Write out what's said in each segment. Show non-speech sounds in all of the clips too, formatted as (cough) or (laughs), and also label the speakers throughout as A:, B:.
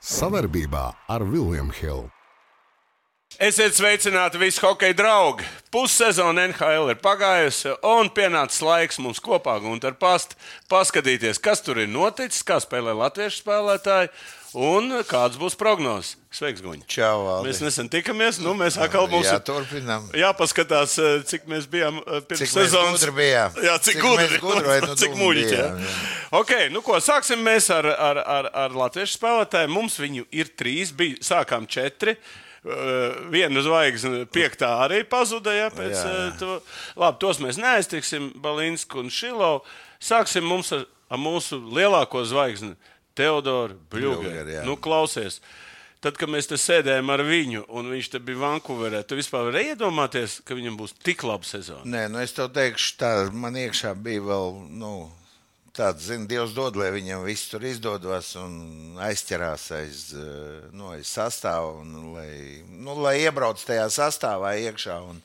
A: Savarbībā ar Vilniņu Hildu.
B: Esiet sveicināti visi hockey draugi! Pussezona NHL ir pagājusi, un pienācis laiks mums kopā gunt ar pastu paskatīties, kas tur ir noticis, kā spēlē latviešu spēlētāji un kādas būs prognozes. Sveiks, Guņ!
C: Čau, Valdis.
B: Mēs nesen tikāmies, nu mēs atkal mums
C: Jā, turpinām.
B: jāpaskatās, cik mēs bijām eh, pirms
C: Cik mēs
B: sezonas.
C: gudri bijām.
B: (laughs) Jā, cik,
C: Cik
B: gudri,
C: mēs gudri vai nu
B: (laughs) cik
C: dumi
B: muļķi.
C: bijām,
B: jā. Okay, nu ko, sāksim mēs ar, ar, ar, ar latviešu spēlētājiem. Mums viņu ir trīs, bija, sākām četri. Eh, Viena zvaigzne, piekta arī pazuda. Jā, pēc,
C: Jā.
B: jā. To, labi, tos mēs neaiztiksim. Balinska un Šilovs. Sāksim mums ar, ar mūsu lielāko zvaigzni, Teodoru
C: Bļūgeru,
B: Bļūgeru.
C: jā.
B: Nu, klausies, tad, kad mēs te sēdējām ar viņu, un viņš te bija Vankūverē, tu vispār vari iedomāties, ka viņam būs tik laba sezona.
C: Nē, nu es tev teikšu, tā man iekšā bija vēl. Nu, Tāds, zina, Dievs dod, lai viņam viss tur izdodas un aizķerās aiz, eh, nu, aiz sastāvā, un lai, nu, lai iebrauc tajā sastāvā iekšā un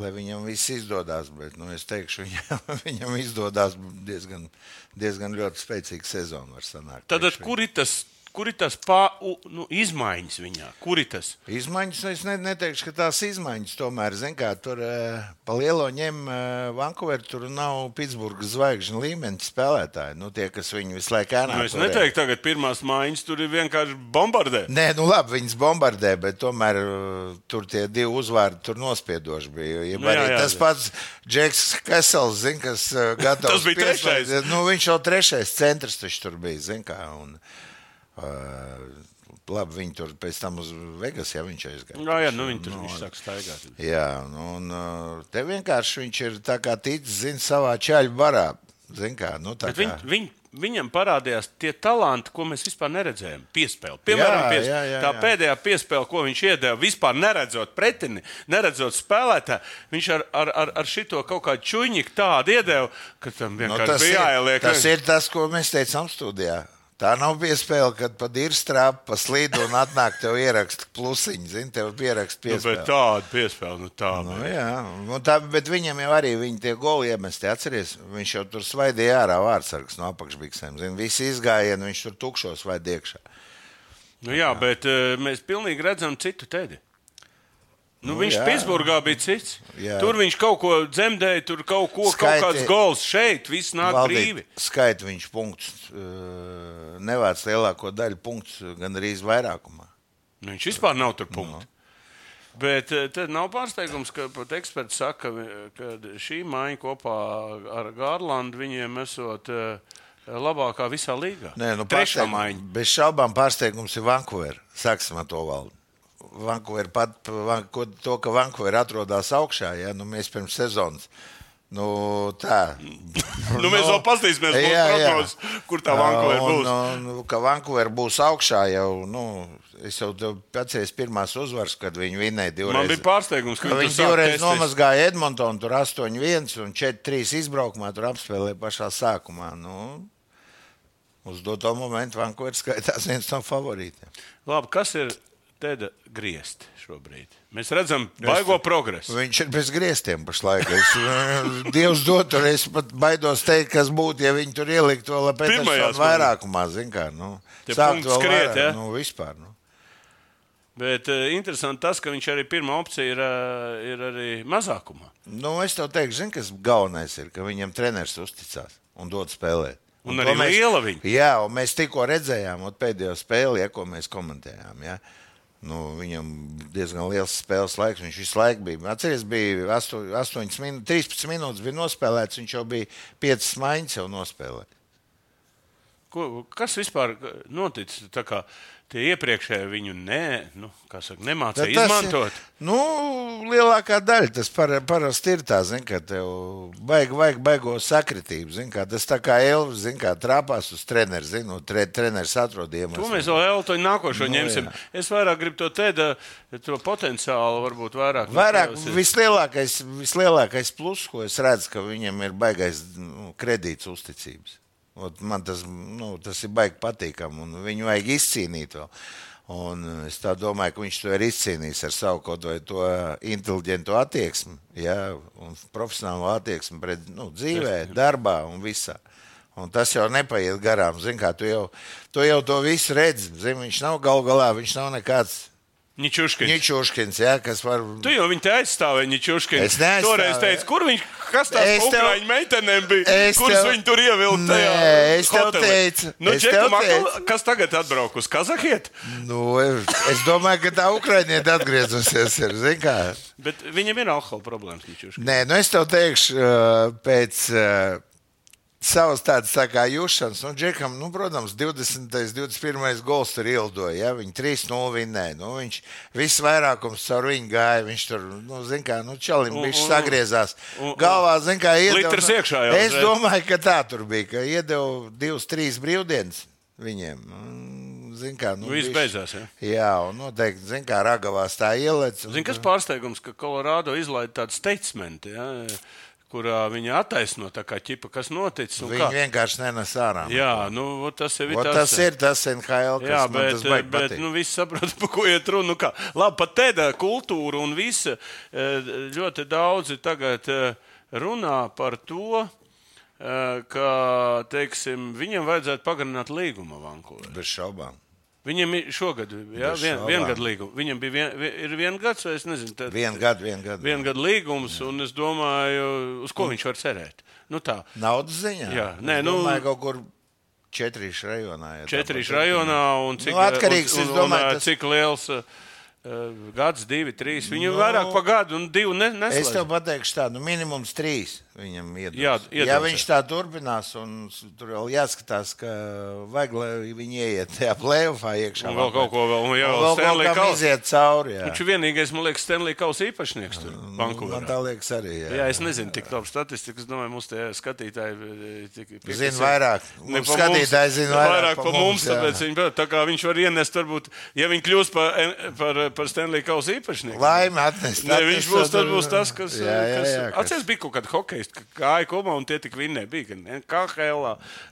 C: lai viņam viss izdodas. Bet nu, es teikšu, (laughs) viņam, viņam izdodas diezgan, diezgan ļoti spēcīga sezona. var sanākt
B: Tad
C: priekš
B: ar kur ir tas, kur ir tas pā, u, nu, izmaiņas viņā? Kur ir tas?
C: Izmaiņas, nu, es ne, neteikšu, ka tās izmaiņas tomēr, zināmā mērā, tur eh, pa lielo ņem eh, Vankūveru. Tur nav Pitsburgas zvaigžņu līmeņa spēlētāji. Nu, tie, kas viņu visu laiku ēnā.
B: Nu, es
C: turēja.
B: neteiktu, tagad pirmās mājiņas tur ir vienkārši bombardē.
C: Nē, nu labi, viņas bombardē, bet tomēr eh, tur tie divi uzvārdi tur nospiedoši bija. Ja
B: Nu,
C: nu, jā,
B: jā, jā.
C: jā, tas pats Džeks Kesels, zin, kas
B: (laughs)
C: eh, gatavs.
B: Tas bija
C: pieslēgt-
B: trešais.
C: Nu, viņš jau trešais centrs taču tur bija. Zin, kā, un, uh, labi, viņi tur pēc tam uz Vegas, ja viņš aizgāja.
B: Jā, jā, nu viņi tur viņš sāk staigāt.
C: Jā, nu, un uh, te vienkārši viņš ir tā kā ticis, zina, savā ķēļu barā. Zin kā, nu, tā
B: Bet viņ,
C: kā.
B: viņ, viņam parādījās tie talanti, ko mēs vispār neredzējām. Piespēle. Piemēram,
C: Jā,
B: pies...
C: jā, jā,
B: tā
C: jā.
B: pēdējā piespēle, ko viņš iedeva, vispār neredzot pretini, neredzot spēlētāju, viņš ar, ar, ar, ar šito kaut kādu čūniņu tādu iedeva, ka tam
C: Nu,
B: vienkārši nu,
C: tas, ir,
B: bija jāieliek.
C: tas ir tas, ko mēs teicām studijā. Tā nav piespēle, kad pa dirstrāpu, pa slīdu un atnāk tev ierakst plusiņu, zini, tev pierakst
B: Nu, bet
C: piespēli.
B: tāda piespēle, nu tā.
C: Nu,
B: Nu,
C: jā, nu tā, bet viņam jau arī viņi tie goli iemesti. Atceries, viņš jau tur svaidīja ārā vārdsargs no apakšbiksēm. Zini, visi izgājieni, viņš tur tukšos vai diekšā.
B: Nu, jā, bet uh, mēs pilnīgi redzam citu tēdi. Nu, nu,
C: Nu,
B: viņš
C: jā.
B: Pitsburgā bija cits. Jā.
C: Jā.
B: Tur viņš kaut ko dzemdēja, tur kaut ko Skaiti.
C: Skaiti-
B: kaut kāds gols šeit, viss nāk Valdīt.
C: Valdīt,
B: brīvi.
C: Skaita viņš punkts, eh, nevāc lielāko daļu punktus, gan arī vairākumā.
B: Nu, viņš vispār nav tur punkts.
C: Nu.
B: Bet eh, tad nav pārsteigums, ka pat eksperts saka, vi- ka šī maiņa kopā ar Gārlandu viņiem esot eh, labākā visā līgā.
C: Nē, nu,
B: Trešā
C: pārsteigums-
B: maiņa.
C: Bez šaubām pārsteigums ir Vankūvera. Sāksim ar to valdu. Vankūvera pat van- ko- to, ka Vankūvera atrodas augšā, ja nu, mēs pirms sezonas. Nu, tā.
B: Nu, mēs vēl paskatīsimies, būs prognozes, kur tā Vankūvera būs.
C: Un, nu, un, ka Vankūvera būs augšā jau, nu, es jau tev atceros pirmās uzvaras, kad viņi vinēja divreiz.
B: Man bija pārsteigums, ka
C: Nu,
B: viņi
C: Viņš
B: tur sāk
C: divreiz
B: testis.
C: nomazgāja Edmontonu, tur 8-1 un 4-3 izbraukumā, tur apspēlēja pašā sākumā. Nu, uz doto momentu Vankūveris skaitās viens no favorītiem.
B: Labi, kas ir Teda griezt šobrīd? Mēs redzam baigo progresu.
C: Viņš ir bez griestiem pašlaik. Es, (laughs) Dievs dod, tur es pat baidos teikt, kas būtu, ja viņi tur ieliktu vēl
B: Pirmajās
C: pēdējās vairākumā. zini Kā, nu,
B: Tie
C: sākt
B: punkti
C: vēl
B: skriet,
C: vairāk,
B: ja?
C: Nu, vispār, nu.
B: Bet uh, interesanti tas, ka viņš arī pirmā opcija ir, uh, ir arī mazākumā.
C: Nu, es tev teikšu, zini, kas galvenais ir, ka viņam treneris uzticās un dod spēlēt.
B: Un
C: to
B: arī liela viņa.
C: Jā, un mēs tikko redzējām, un pēdējo spēli, ja, ko mēs komentējām. Ja. Nu, viņam diezgan liels spēles laiks, viņš visu laiku bija. Atcerieties, bija 8, 8 minūtes, 13 minūtes bija nospēlēts, viņš jau bija 5 maiņas jau nospēlēts.
B: Ko, kas vispār noticis? Tā kā Tie iepriekšēji viņu nē, nu, kā saka, nemācīja
C: Tas
B: izmantot.
C: Ir, nu, lielākā daļa tas par, parasti ir tā, zin, ka tev baigi, baigi, baigo sakritību. Zin, kā, tas tā kā Elvis zin kā, trāpās uz treneru, zin, un tre, treneris atrodījām.
B: To mēs vēl Eltoņu nākošo
C: Nu,
B: nu, ņemsim. Jā.
C: jā.
B: Es vairāk gribu to teikt, to potenciālu varbūt vairāk.
C: Vairāk,
B: nekļausies.
C: vislielākais, vislielākais pluss, ko es redzu, ka viņam ir baigais nu, kredīts uzticības. Ot, man tas, nu, tas ir baigi patīkami, un viņu vajag izcīnīt. Vēl. Un eh, es tā domāju, ka viņš to ir izcīnījis ar savu kaut vai to inteliģentu attieksmi, ja, un profesionālu attieksmi pret nu, dzīvē, darbā un visā. Un tas jau nepaiet garām. Zini, kā tu jau, tu jau to visu redzi. Zini, viņš nav galu galā, viņš nav nekāds
B: Ničuškins.
C: ničuškins, ja, kas var.
B: Tu jau viņu te aizstāvēji, Ničuškins.
C: Es neaizstāvēju.
B: Toreiz teicu, kur viņš, kas
C: Es
B: tās
C: tev-
B: ukraiņu meitenēm bija,
C: Es
B: kuras
C: tev-
B: viņi tur ievilka tajā
C: Nē, es tev
B: hotelī?
C: teicu,
B: Nu,
C: es
B: Džeka
C: tev
B: Makala, kas tagad atbrauk uz Kazahiet,
C: Nu, es domāju, ka tā Ukraiņieta atgriezusies. Ir, zini kā?
B: bet viņam ir alkohola problēmas, Ničuškins.
C: Nē, nu es tev teikšu, uh, pēc uh, savas tādas tā kā jūšanas, nu, Džekam, nu, protams, 20. un 21. gols tur ielidoja. Ja? Viņi 3-0 vinnēja. Nu, viņš viss vairākums caur viņu gāja. Viņš tur, nu, zin kā, nu, čalim
B: Un-
C: viņš
B: un-
C: sagriezās.
B: un- un-
C: Galvā, zin kā, iedeva.
B: Litrs
C: nu,
B: iekšā jau
C: Es
B: uzreiz.
C: domāju, ka tā tur bija, ka iedeva divas, trīs brīvdienas viņiem. Mm, Zin kā, nu,
B: Viss
C: bišķi-
B: beidzās, jā.
C: Jā, un noteikti, zin kā, ragavās tā ielec. un-
B: Zini, kas pārsteigums, ka Kolorādo izlaiž tādu statementu, ja, kurā viņi attaisno tā kā ķipa, kas noticis. un kā.
C: Viņi vienkārši nenes ārā.
B: Jā, nu, vot tas jau ir
C: O,
B: tas.
C: tas ir tas NHL, kas
B: Jā,
C: man
B: bet,
C: tas baigi
B: bet
C: patīk.
B: nu, viss saprot, (laughs) par ko iet runa. Nu, kā. Labi, pat tādā kultūra un viss ļoti daudzi tagad eh, runā par to, eh, ka teiksim, viņam vajadzētu pagarināt līgumu Vankūverā.
C: Bez šaubām.
B: Viņam ir šogad jā,
C: Bez
B: vien,
C: šaubām.
B: viengad līguma. Viņam bija vien, vi- ir viens gads, vai es nezinu, tā,
C: Vienu gadu, vienu gadu. Vien...
B: viengad līgums, un es domāju, uz ko viņš var cerēt. Nu, tā.
C: Naudas ziņā.
B: Jā,
C: Es
B: nē, nu-
C: Domāju, kaut kur četrīšu rajonā. Ja
B: Četrīs rajonā un cik,
C: Nu, atkarīgs,
B: un,
C: es
B: un,
C: domāju,
B: un,
C: tas-
B: tas... cik liels uh, uh, gads, divi, trīs. Viņu
C: Nu,
B: no... vairāk par gadu un divu ne,
C: Es tev
B: neslēdz.
C: pateikšu, tā nu, minimums trīs viņam ir.
B: Jā, iedos,
C: ja
B: jā.
C: viņš tā turpinās, un s- tur vēl jāskatās, ka vajag, lai viņi ieiet tajā plēvā iekšā.
B: Un vēl kaut ko vēl, un
C: Un
B: jā,
C: vēl kaut
B: Stanley Nu,
C: kam
B: Kausa.
C: iziet cauri. Jā.
B: Viņš ir vienīgais, man liekas, Stanley Kausa īpašnieks tur,
C: Nu, Man
B: Vankūverā.
C: tā liekas arī. Jā.
B: Jā, es nezinu, tik labi statistiku. Es domāju, mūsu tie skatītāji eh,
C: Zin vairāk.
B: Ne pa
C: Mums
B: mums,
C: skatītāji zin
B: ne
C: vairāk
B: vairāk
C: pa
B: par mums,
C: mums, jā.
B: tāpēc viņi, tā kā viņš var ienest, varbūt, ja viņi kļūs par, eh, par, par Stanley Kausa īpašnieku.
C: Laime atnest.
B: Ne, viņš
C: atnest,
B: būs,
C: tad-
B: tad būs tas, kas.
C: Jā, jā, jā,
B: kas... Atcerieties, bija kaut kāda hokeja, kas gāja kopā un tie tik vinnēji. Bija gan NHL,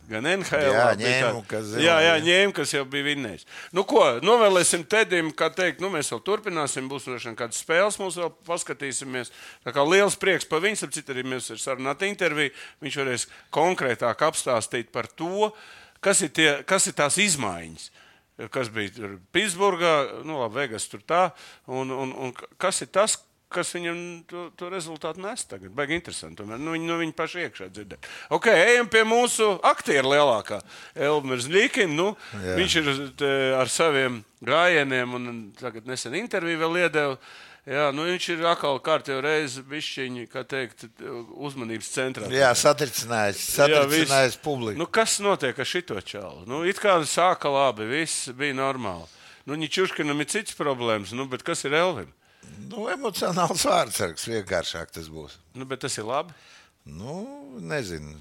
B: gan NHL.
C: Jā,
B: bija
C: ņēmu,
B: tā-
C: kas zina,
B: jā, jā,
C: jā.
B: ņēma, kas jau bija vinnējis. Nu, ko novēlēsim Tedim, kā teikt, nu, mēs vēl turpināsim, būs droši vien kādas spēles, mums vēl paskatīsimies. Tā kā liels prieks par viņu, ap citu arī mēs ar sarunātu interviju. Viņš varēs konkrētāk apstāstīt par to, kas ir, tie, kas ir tās izmaiņas kas bija tur Pitsburgā, nu, labi, Vegas tur tā. Un, un, un kas ir tas, kas viņam to, to rezultātu nes tagad? Baigi interesanti. tomēr. Nu, viņi nu, viņu paši iekšā dzirdēt. Ok, ejam pie mūsu aktiera lielākā, Elmers Līkina. Nu,
C: Jā.
B: viņš ir te, ar saviem gājieniem un tagad nesen interviju vēl iedeva. Jā, nu viņš ir atkal kārtībā reizē bišķiņi, kā teikt, uzmanības centrā.
C: Jā, satricinājis,
B: Jā, viss.
C: satricinājis publiku.
B: Nu, kas notiek ar šo čaulu? Nu, it kā sāka labi, viss bija normāli. Nu, Ničuškinam ir cits problēmas, nu, bet kas ir Elvim?
C: Nu, nu, emocionāls vārdsargs vienkāršāk tas būs.
B: Nu, bet tas ir labi.
C: Nu, nezinu.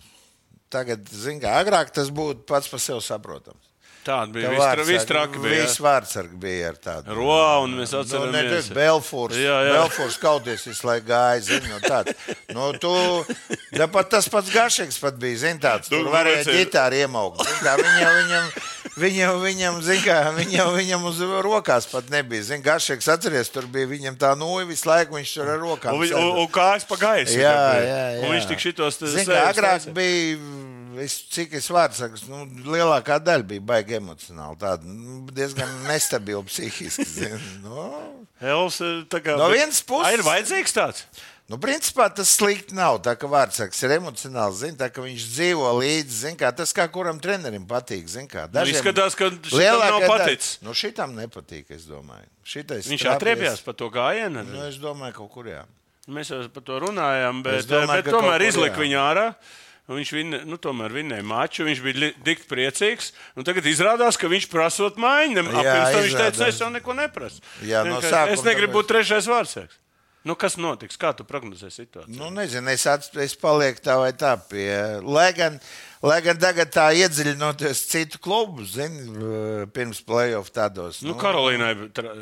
C: Tagad, zin, kā agrāk tas būtu pats par sevi saprotams.
B: Tāda bija
C: Ka
B: vistra,
C: vārdsargi-
B: vistrāka. Bija,
C: Viss
B: jā.
C: vārdsargi bija ar tādu.
B: Roā, un mēs
C: Nu, ne,
B: atceramies.
C: tas Belfors.
B: Jā, jā.
C: Belfors kauties visu laiku gāja. Zin, no tāds. nu, tu, da, pat tas pats Gašeks pat bija. Zin, tāds,
B: Nu,
C: tur varēja
B: vecais-
C: ģitāri iemaukt. Zin, kā, viņam, viņam, viņam, viņam, zin, kā, viņam, viņam uz rokās pat nebija. Zin, Gašeks atceries, tur bija viņam tā noja visu laiku. Viņš tur ar rokām.
B: Un, vi-
C: sēdēja.
B: un, un kājas pa gaisu.
C: Jā,
B: tā bija.
C: jā, jā.
B: Un viņš tik šitos te
C: Zini, kā
B: sēdes
C: agrāk
B: taisīja.
C: bija, es, cik es vārdu saku, nu, lielākā daļa bija baigi emocionāli. Tāda nu, diezgan nestabila psihiski. zini, Nu,
B: Elvis, eh, tā kā,
C: No
B: bet-
C: vienas puses-
B: Ai, Ir vajadzīgs tāds.
C: nu, principā tas slikti nav. Tā kā vārds sakas ir emocionāls, zin, tā ka viņš dzīvo līdzi, zin, kā, tas kā kuram trenerim patīk. Zin, kā,
B: Dažiem... Nu, Izskatās, ka viņš
C: lielākā
B: nav
C: daļa-
B: paticis.
C: Nu, šitam nepatīk, es domāju. Šitais
B: Viņš
C: trapies-
B: atriebjās par to gājienu.
C: Nu, es domāju, kaut kur jā.
B: Mēs jau par to runājām, bet,
C: Es domāju,
B: domāju,
C: ka
B: bet tomēr
C: kaut kur
B: izlika
C: jā.
B: viņu ārā. Un Viņš vinne, nu, tomēr vinnēja maču, viņš bija li- dikti priecīgs. un Tagad izrādās, ka viņš prasot maiņu.
C: Jā,
B: Pirms tam viņš
C: izrādās.
B: teica, es jau neko neprasu.
C: Jā, no
B: Vienkārši,
C: sākuma
B: es negribu
C: tāpēc-
B: būt trešais vārdsēks. Nu, kas notiks? Kā tu prognozēsi situāciju?
C: Nu, nezinu, es, ats, es palieku tā vai tā pie. Lai gan, lai gan tagad tā iedziļinoties citu klubu, zinu, pirms playoff tādos.
B: Nu, Karolīnai tra-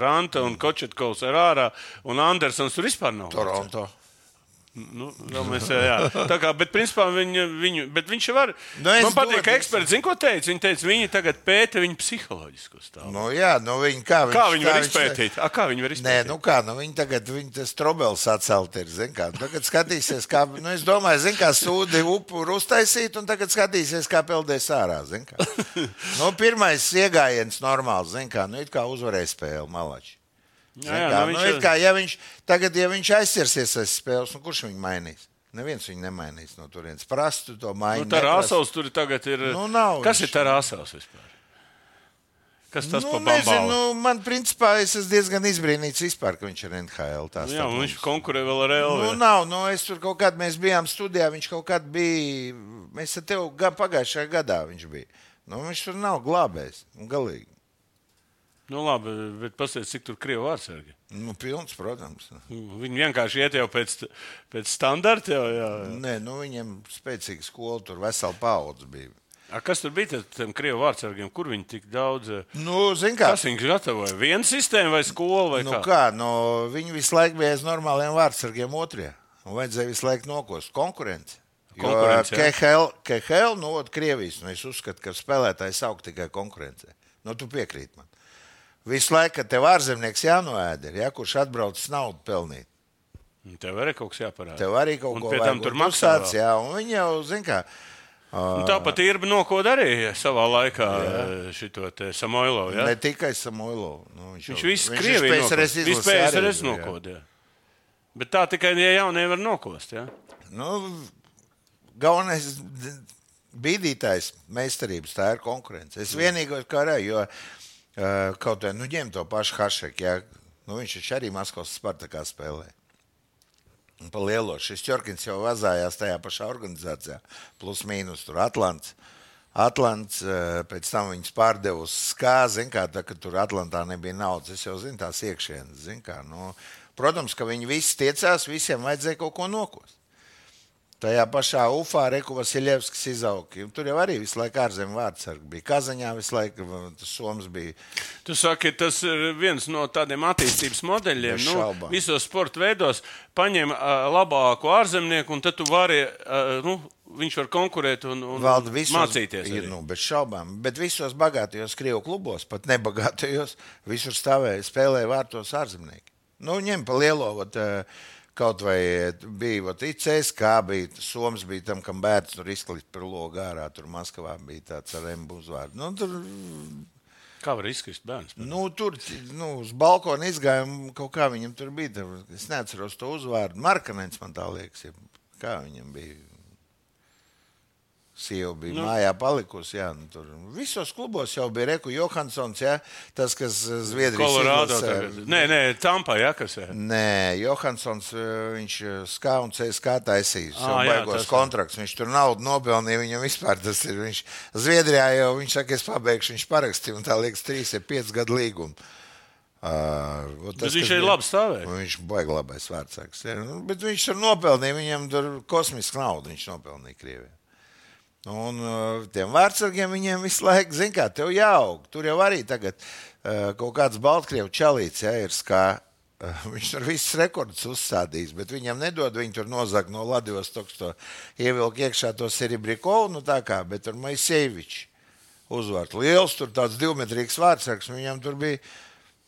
B: Ranta un Kočetkovs ir ārā, un Andersons tur vispār nav.
C: Toronto.
B: Nu, vēl mēs, jā, tā kā, bet principā viņa, viņu, bet viņš var.
C: Nu,
B: Nu,
C: es
B: man patīk,
C: dodu-
B: ka eksperti zina, ko teica. Viņi teica, viņi tagad pēta viņa psiholoģisko stāvokli.
C: Nu, jā, nu viņi kā,
B: Kā
C: viņš-
B: viņi
C: kā
B: var
C: viņš-
B: izpētīt? A, kā viņi var
C: Nē,
B: izpētīt?
C: nu kā, nu viņi tagad, viņi tas trobels atcelt ir, zin kā. Tagad skatīsies, kā, nu es domāju, zin kā sūdi upuru uztaisīt, un tagad skatīsies, kā peldēs ārā,
B: (laughs)
C: zin kā. Nu, pirmais iegājiens normāls, zin kā, nu it kā uzvarēja spēli, malači. Zin
B: Jā, jā,
C: kā,
B: nu
C: nu,
B: viņš
C: it
B: jau-
C: kā, ja viņš, tagad, ja viņš aizsirsies aiz spēles, nu kurš viņu mainīs? Neviens viņu nemainīs no turienes. Prastu to
B: Nu,
C: mainīt.
B: tā rāsaus tur tagad ir.
C: Nu, nav
B: Kas
C: viņš.
B: ir tā rāsaus vispār? Kas tas
C: nu,
B: pa bambām?
C: nezinu, nu, man, principā, es esmu diezgan izbrīnīts vispār, ka viņš ir NHL. tā
B: Jā, un
C: starp mums.
B: viņš konkurē vēl ar
C: Nu,
B: Elvi.
C: nav, nu, es tur kaut kādā mēs bijām studijā. Viņš kaut kādā bija. Mēs ar tevi ga- pagājušajā gadā viņš bija. Nu, viņš tur nav glābējis. nu, Galīgi.
B: Nu, labi, bet paskatieties, cik tur krievu vārdsargi.
C: Nu, pilns, protams.
B: Viņi vienkārši iet jau pēc, pēc standarta. Jau, jā.
C: Nē, nu, viņam spēcīga skola, tur vesela paudze bija.
B: A, Kas tur bija tad tiem krievu vārdsargiem? Kur viņi tik daudz? eh,
C: Nu, zin kā.
B: Kas viņus gatavoja? Viena sistēma vai skola? Vai
C: Nu,
B: kā?
C: kā, nu, viņi visu laiku bija aiz normāliem vārdsargiem otrajā. Un vajadzēja visu laiku nokost konkurence.
B: Konkurence, jā.
C: Kehl no Krievijas, nu, es uzskatu, ka spēlētājs aug tikai konkurencē. Nu, tu piekrīt man. Visu laiku, kad tev ārzemnieks jānoēd, ir, ja, kurš atbrauc naudu pelnīt.
B: Nu, Tev arī kaut kas jāparāda.
C: Tev arī kaut
B: Un
C: ko
B: pie tam tur maksā
C: maksāts,
B: vēl.
C: jā, un viņi jau, zin kā,
B: Un Tāpat ir nokod arī savā laikā šo Samoilo.
C: jā.
B: Ja?
C: ne tikai Samoilo. Nu, viņš,
B: Viņš
C: jau-
B: viss
C: viņš ir
B: Krievijā
C: PSRS
B: nokoda. Viss
C: izlasē arī,
B: PSRS
C: jā.
B: nokoda. Bet tā tikai, ja jau nevar nokost. Ja?
C: Nu, galvenais d- bīdītājs meistarības tā ir konkurence. Es vienīgais karēju, jo uh, kaut kā nu, ņem to pašu Hašeku. Jā, nu, viņš taču arī Maskavas Spartakā spēlē. Un pa lielo šis Čorkins jau vazājās tajā pašā organizācijā. Plus mīnus tur Atlants. Atlants eh, pēc tam viņus pārdeva uz Skā, zin kā, tā, ka tur Atlantā nebija naudas. Es jau zinu tās iekšienes, zin kā. Nu, protams, ka viņi visi tiecās, visiem vajadzēja kaut ko nokost. Tajā pašā UFā Rekovas Iljevskis izauga. Tur jau arī visu laiku ārzemju vārdsargi bija. Kazaņā visu laiku v- tas Soms bija.
B: Tu saki, tas ir viens no tādiem attīstības modeļiem.
C: Bez
B: Nu,
C: šaubām.
B: visos sporta veidos paņem uh, labāko ārzemnieku, un tad tu vari, uh, nu, viņš var konkurēt un, un
C: Valda visos,
B: mācīties.
C: ir,
B: arī.
C: Nu, bez šaubām. Bet visos bagātajos krievu klubos, pat nebagātajos, visur stāvēja spēlēja vārtos ārzemnieki. Nu, ņem pa lielo. Vat, eh, Kaut vai eh, bija vat ICS, kā bija Somijas, bija tam, kam bērns tur izklīst par logu ārā, tur Maskavā bija tāds ar embu uzvārdu. Nu, tur
B: Kā var izkrist bērns?
C: Nu, tur nu, uz balkona izgājām, kaut kā viņam tur bija. Tur, es neatceros to uzvārdu. Markanēns man tā liekas, ja, kā viņam bija. Sieva bija nu. mājā palikusi. Jā, nu, tur visos klubos jau bija Reku Johansons, jā, tas, kas eh, Zviedrijas
B: Kolorādo.
C: izlasē-
B: tagad. Nē, nē, Tampā, jā, kas ir.
C: Nē, Johansons, eh, viņš skā un CSK taisīs jau
B: Ā, jā, tas
C: baigos
B: ir.
C: kontrakts. Viņš tur naudu nopelnīja, viņam vispār tas ir. Viņš Zviedrijā jau, viņš saka, es pabeigšu, viņš parakstīja, un tā liekas, 3 vai 5 gadu līgumu. Uh,
B: Bet viņš ir labs stāvēks.
C: Viņš baigi labais vārdsargs. ir. Nu, Bet viņš tur nopelnīja, viņam tur kosmiska nauda viņš nopelnīja Krievijā. Un uh, tiem vārdsargiem viņiem visu laiku, zin kā, tev jāaug. Tur jau arī tagad uh, kaut kāds Baltkrievu čalīts, ja ir skā. uh, (laughs) Viņš tur visus rekordus uzstādījis, bet viņam nedod. Viņi tur nozag no Latvijas stūra, ievilka iekšā to Seribrikovu, nu tā kā, bet tur Maisievičs uzvārds. Liels, tur tāds divmetrīgs vārdsargs, un viņam tur bija.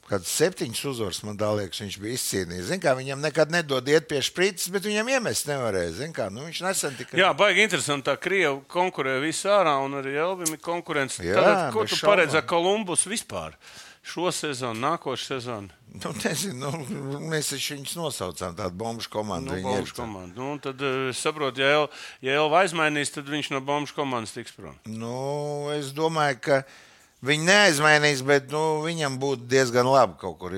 C: Kad septiņas uzvaras, man tā liekas, viņš bija izcīnījis. Zin Kā, viņam nekad nedod iet pie sprites, bet viņam iemest nevarēja. zin Kā, nu, viņš nesen tikai
B: Jā, baigi interesanti. Tā Krievija konkurē visā ārā, un arī Elvis ir konkurence.
C: Jā,
B: Tad, ko
C: bez
B: tu
C: šaubām.
B: paredzi ar Kolumbus vispār? Šo sezonu, nākošo sezonu.
C: Nu, nezinu, nu, mēs taču viņus nosaucām tādu bombušu
B: Nu,
C: komandu. Viņi
B: bombušu
C: ir tā-
B: komanda. Nu, tad eh, es saprotu, ja Elvis ja Elva aizmainīs, tad viņš no bombušu komandas tiks prom.
C: Nu, es domāju, ka viņi neaizmainīs, bet nu, viņam būtu diezgan labi kaut kur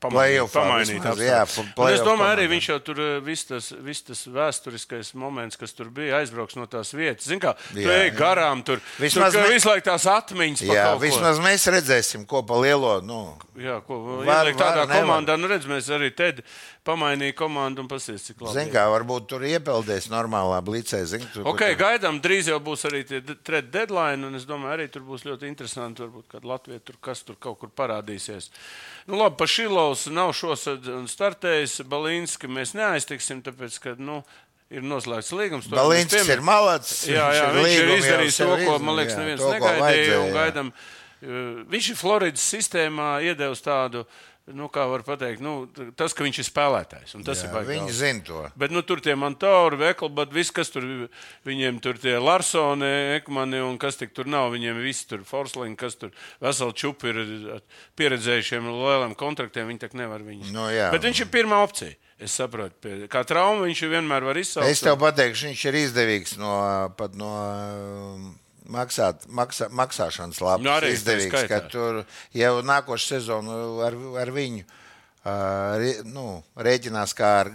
B: Pamainīt,
C: plēsoņā.
B: pamainīt
C: jā,
B: apstākļus. Un
C: play-off
B: Es domāju, arī
C: komandā.
B: viņš jau tur eh, viss tas, viss tas vēsturiskais moments, kas tur bija, aizbrauks no tās vietas. Zini, kā tu
C: Jā.
B: ej garām tur. Vismaz
C: Vismaz
B: tur,
C: ne-
B: ne... visu laiku tās atmiņas. pa
C: Jā,
B: kaut ko.
C: vismaz mēs redzēsim, ko pa lielo. Nu,
B: Jā, ko var,
C: Var,
B: var,
C: var,
B: tādā
C: nevar.
B: nevar. komandā, nu redz, mēs arī te pamainīja komandu un pasīs, cik labi.
C: Zini, kā varbūt tur iepeldēs normālā blīcē. Zini, tur,
B: Ok,
C: tur...
B: gaidām, drīz jau būs arī trešā deadline, un es domāju, arī tur būs ļoti interesanti, varbūt kāda Latvija tur kas tur kaut kur parādīsies. Nu, labi, pa Šilovs nav šosad startējis, Balīnski mēs neaiztiksim, tāpēc, ka, nu, ir noslēgts līgums. to jau mēs
C: Balīņš ir
B: piemin-
C: malācis.
B: Jā, jā, viņš ir
C: līgumu jau
B: izdarījis
C: sev
B: to, ko,
C: izdarījis,
B: man liekas,
C: jā,
B: neviens
C: to, ko
B: negaidīja.
C: vajadzēja,
B: un
C: jā.
B: Gaidam, uh, viņš ir Floridas sistēmā iedevis tādu, nu, kā var pateikt, nu, t- tas, ka viņš ir spēlētājs. un Tas jā, ir
C: Jā,
B: baigi
C: Viņi
B: daudz.
C: zina to.
B: Bet nu, tur tie Mantauri, Veklbats, viss, kas tur viņiem tur tie Larsoni, Ekmani un kas tik tur nav, viņiem visi tur Forslingi, kas tur veseli čupi ir ar pieredzējušiem lieliem kontraktiem, viņi tak nevar viņus.
C: Nu, jā.
B: Bet viņš ir pirmā opcija. Es saprotu, pie- kā traumu viņš vienmēr var izsaukt.
C: Es tev pateikšu, viņš ir izdevīgs no, pat no um, maksāt, maksā, maksāšanas lapas.
B: Nu, arī
C: izdevīgs,
B: skaitā.
C: ka tur jau nākošu sezonu ar, ar viņu uh, re- nu, rēķinās kā ar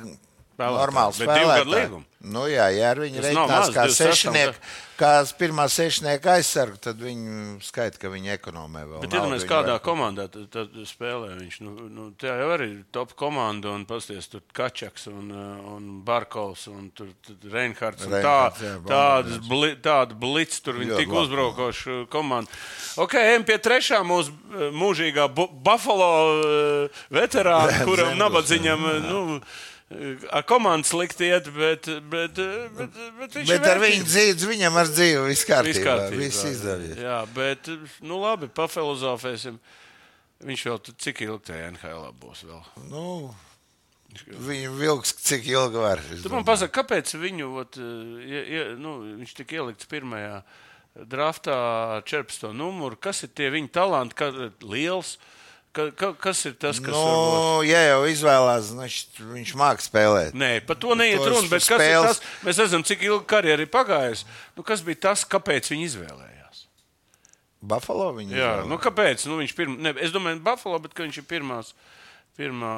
C: normālu
B: bet divu gadu
C: spēlētāju.
B: līgumu.
C: Nu, jā, ja ar viņu
B: Tas nav
C: rēķinās
B: maz,
C: kā
B: 26
C: sešnieku, kā pirmā sešnieka aizsargu, tad viņi skaita, ka viņi ekonomē vēl.
B: Bet
C: naudu,
B: iedomājieties,
C: viņi
B: kādā
C: var-
B: komandā tad, tad spēlē viņš. Nu, nu, tā jau arī ir top komanda, un pasties, tur Kačaks, un, eh, un Barkovs, un tur, tur Reinhards. Un tā,
C: Reinhards, jā,
B: tādas
C: Barkovs.
B: bli, tāda blitz, tur viņi
C: Ļoti
B: tik
C: labi.
B: uzbraukoši komanda. Ok, ejam pie trešā mūsu eh, mūžīgā Bu- Buffalo eh, veterāna,
C: (laughs)
B: kuram
C: Zemgus,
B: nabadziņam. eh, Nu, eh, Ar komandu slikti iet, bet, bet, eh, bet, bet viņš ir
C: Bet ar
B: vērtīgs.
C: viņu dzīvi, viņam ar dzīvi viss kārtībā.
B: Viss kārtībā.
C: Viss izdevies.
B: Jā, bet nu, labi, pafilozofēsim. Viņš vēl tur cik ilgi tajā NHL būs. Vēl?
C: Nu, viņu vilks, cik ilgi var. Nu, es
B: Tu man
C: domāju.
B: pasaki, kāpēc viņu, ot, ie, ie, nu, viņš tika ielikts pirmajā draftā ar 14. numuru? Kas ir tie viņa talanti, kā liels? Ka, ka, kas ir tas, kas
C: Nu,
B: varbūt-
C: ja jau izvēlās, значит, viņš mākslinieks spēlēt.
B: Nē, par to neiet
C: To
B: runa. bet Kas ir
C: spēles-
B: tas? Mēs redzam, cik ilga karjera ir pagājusi. Nu, kas bija tas, kāpēc viņi izvēlējās?
C: Buffalo viņa
B: Jā,
C: izvēlē.
B: nu kāpēc? Nu, viņš pirma, ne, es domāju, Buffalo, bet ka viņš ir pirmās, pirmā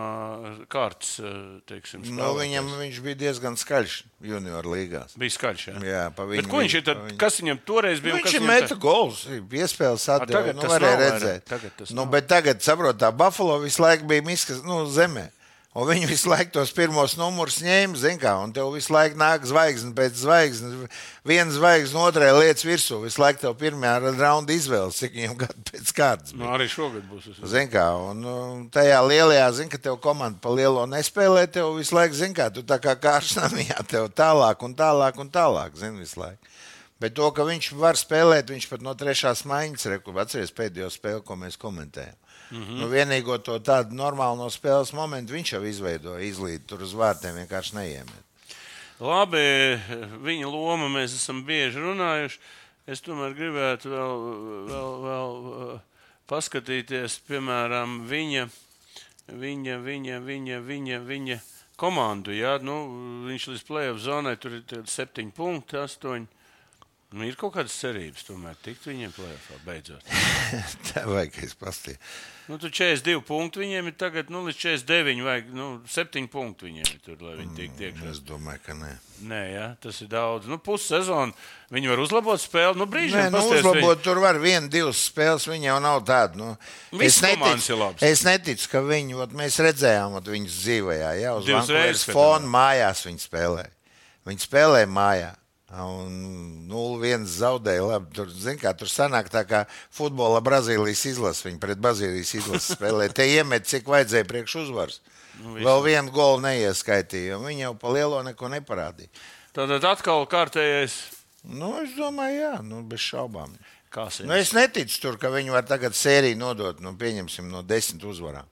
B: kārtas, eh, teiksim,
C: nu,
B: spēlētājs.
C: viņam viņš bija diezgan skaļš junior līgās.
B: bija skaļš. Jā.
C: Jā, pa
B: Bet
C: viņu
B: ko viņš
C: bija-
B: ir tad,
C: pa viņu. Nu,
B: kas viņam toreiz bija? un
C: Viņš
B: kas
C: ir
B: viņam
C: metu
B: tagad?
C: gols, piespēles atdeva.
B: tagad
C: Nu,
B: tas
C: varēja
B: nav vairāk,
C: redzēt.
B: tagad tas
C: nu,
B: nav.
C: bet tagad, saprot, tā Buffalo visu laiku bija miskas, nu, zemē. Un viņi visu laiku tos pirmos numurus ņēma, zin kā, un tev visu laiku nāk zvaigznes pēc zvaigznes. Viena zvaigzne otrē lietas virsū, visu laiku tev pirmajā raundā izvēles, cik viņam gadu pēc kārtas.
B: Nu, arī šogad būs. es-
C: Zini, kā un, um, tajā lielajā, zini, ka tev komanda pa lielo nespēlē, tev visu laiku, zini, kā tu tā kā kāršnamijā, (laughs) tev tālāk un tālāk un tālāk, zini, visu laiku. Bet to, ka viņš var spēlēt, viņš pat no trešās maiņas, reku, atceries pēdējo spēli, ko mēs komentējam. Mm -hmm. nu, vienīgo to tādu normālu no spēles momentu viņš jau izveidoja, izlīd tur uz vārtiem vienkārši neiemet.
B: Labi, viņa loma mēs esam bieži runājuši. Es tomēr gribētu vēl, vēl, vēl eh, paskatīties, piemēram, viņa, viņa, viņa, viņa, viņa, viņa komandu. Jā, nu, viņš līdz plēsoņa zonai tur ir tie septiņi punkti, astoņi. Nu, ir kaut kādas cerības, tomēr tikt viņiem plēsoņā beidzot.
C: (laughs) Tā vajag, ka es pastīju.
B: Nu, tur 42 punkti viņiem ir tagad, nu, līdz 49 vajag, nu, 7 punkti viņiem ir tur, lai viņi tiktu iekšā.
C: Es domāju, ka nē.
B: Nē, jā, tas ir daudz. Nu, pussezonu viņi var uzlabot spēli. Nu,
C: Nē,
B: brīžiem
C: nu,
B: pasties,
C: uzlabot, tur var vienu, divas spēles. Viņa jau nav tāda. Nu,
B: Viss komandas ir labas.
C: es neticu, ka viņi, ot, mēs redzējām, ot, viņas dzīvē, jau uz
B: Divas
C: Vankūveras
B: reizes, kad
C: fona mājās viņi spēlēja. Viņi spēlēja mājā. Un 0-1 zaudēja. Labi, tur, zin, kā, tur sanāk tā, kā futbola Brazīlijas izlase. Viņi pret Brazīlijas izlasi spēlēja. Te iemet, cik vajadzēja priekš uzvaras. Nu,
B: visu.
C: Vēl vienu golu neieskaitīja. jo Viņi jau pa lielo neko neparādīja.
B: viņi- Tātad atkal kārtējais.
C: Nu, es domāju, jā, nu, bez šaubām.
B: Kas ir?
C: Nu, es neticu, tur, ka viņi var tagad sēriju nodot, nu, pieņemsim, no desmit uzvarām.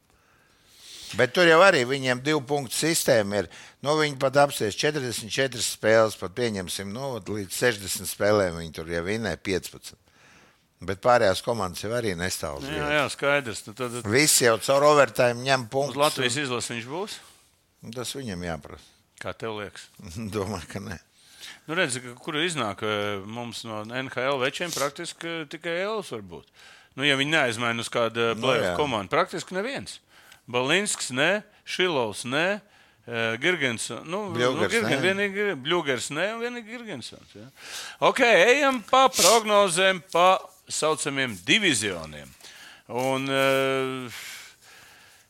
C: Bet tur jau arī viņiem divu punktu sistēma ir. Nu, viņi pat apsies 44 spēles, pat pieņemsim, nu, ot, līdz 60 spēlēm viņi tur jau vinē 15. Bet pārējās komandas jau arī nestāv uz
B: jā,
C: vietas.
B: jā, skaidrs. Nu, tad
C: Visi jau caur overtime ņem
B: uz
C: punktus.
B: Latvijas izlases viņš būs.
C: un Tas viņam jāprasa. (laughs)
B: Kā tev liekas?
C: Domāju, ka nē.
B: Nu, redz, ka- kur iznāk eh, mums no NHL večiem praktiski eh, tikai Elvis var būt. Nu, ja viņi neaizmaina uz kādu eh,
C: Nu,
B: playoff
C: jā.
B: komandu, praktiski neviens. Balinsks, ne, Šilovs, ne. eh, Girgens, nu,
C: Bļūgers,
B: nu, Girgen,
C: ne.
B: vienīgi Bluegers, ne, un vienīgi Girgensons. Ja. Ok, ejam pa prognozēm, pa saucamiem divizioniem. Un, eh,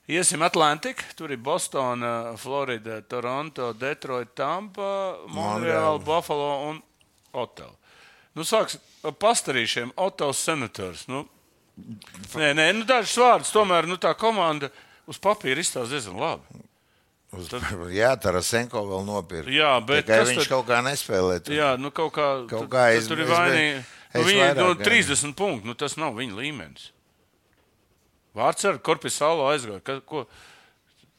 B: Iesim Atlantiku. Tur ir Bostona, Florida, Toronto, Detroit, Tampa, Monreāla, Buffalo un Ottawa. Nu, sāksim ar pastarīšiem. Ottawa senators. Nu, nē, nē, nu, dažas vārdas. Tomēr nu, tā komanda uz papīra izstāsta diezgan labi.
C: Uz, (laughs) jā, Tarasenko vēl nopirka.
B: Jā, bet
C: Tikai
B: kas
C: viņš
B: tad-
C: kaut kā nespēlē. tur.
B: Jā, nu, kaut kā,
C: Kaut
B: kaut
C: kā
B: kā
C: es-
B: tur ir
C: es
B: vainīgi.
C: biju-
B: Nu,
C: es
B: viņi
C: vairāk,
B: dod
C: jā.
B: 30 punktus. Nu, tas nav viņa līmenis. Vārds ar korpusālo aizgāja. Ka, ko?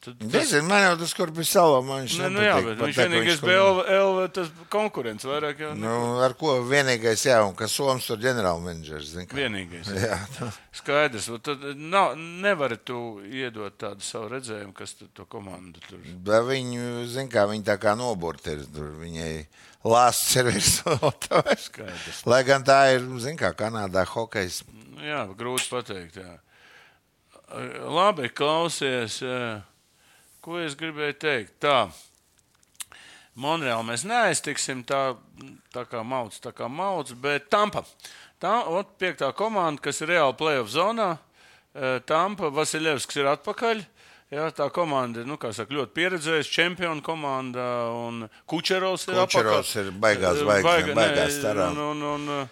B: Tad- tas-
C: Nezinu, man jau tas, kur bija salomā, viņš
B: Nē, nu,
C: nepatīk,
B: jā, bet
C: pat
B: viņš
C: tā, ka
B: vienīgais
C: kaut-
B: bija LV, tas konkurents vairāk. Jā, nu.
C: Nu, ar ko vienīgais, jā, un kas Somijas tur ģenerālmenedžers. zini, kā.
B: Vienīgais.
C: Jā, tā.
B: Skaidrs, un tad nav, nevari tu iedot tādu savu redzējumu, kas tu, to komandu tur.
C: Bet Viņu, zin kā, viņa tā kā noburta ir. Tur viņai lāsts ir (laughs) virsotājs.
B: Skaidrs.
C: Lai gan tā ir, zin kā, Kanādā hokejs.
B: Nu, Jā, grūti pateikt. Jā. Labi, klausies, eh, ko es gribēju teikt. Tā, Monreāli mēs neaiztiksim, tā, tā kā mauts, tā kā mauts, bet Tampa. Tā ir piekta komanda, kas ir reāli playoff zonā. Eh, Tampa Vasiljevskis ir atpakaļ. Jā, tā komanda ir nu, kā saka, ļoti pieredzējusi, čempionu komanda. un Kučerovs ir
C: Kučerovs
B: apakaļ.
C: ir baigās
B: Eh,
C: zvaigzne,
B: baiga- nē,
C: baigās starā.
B: un- un- un, eh,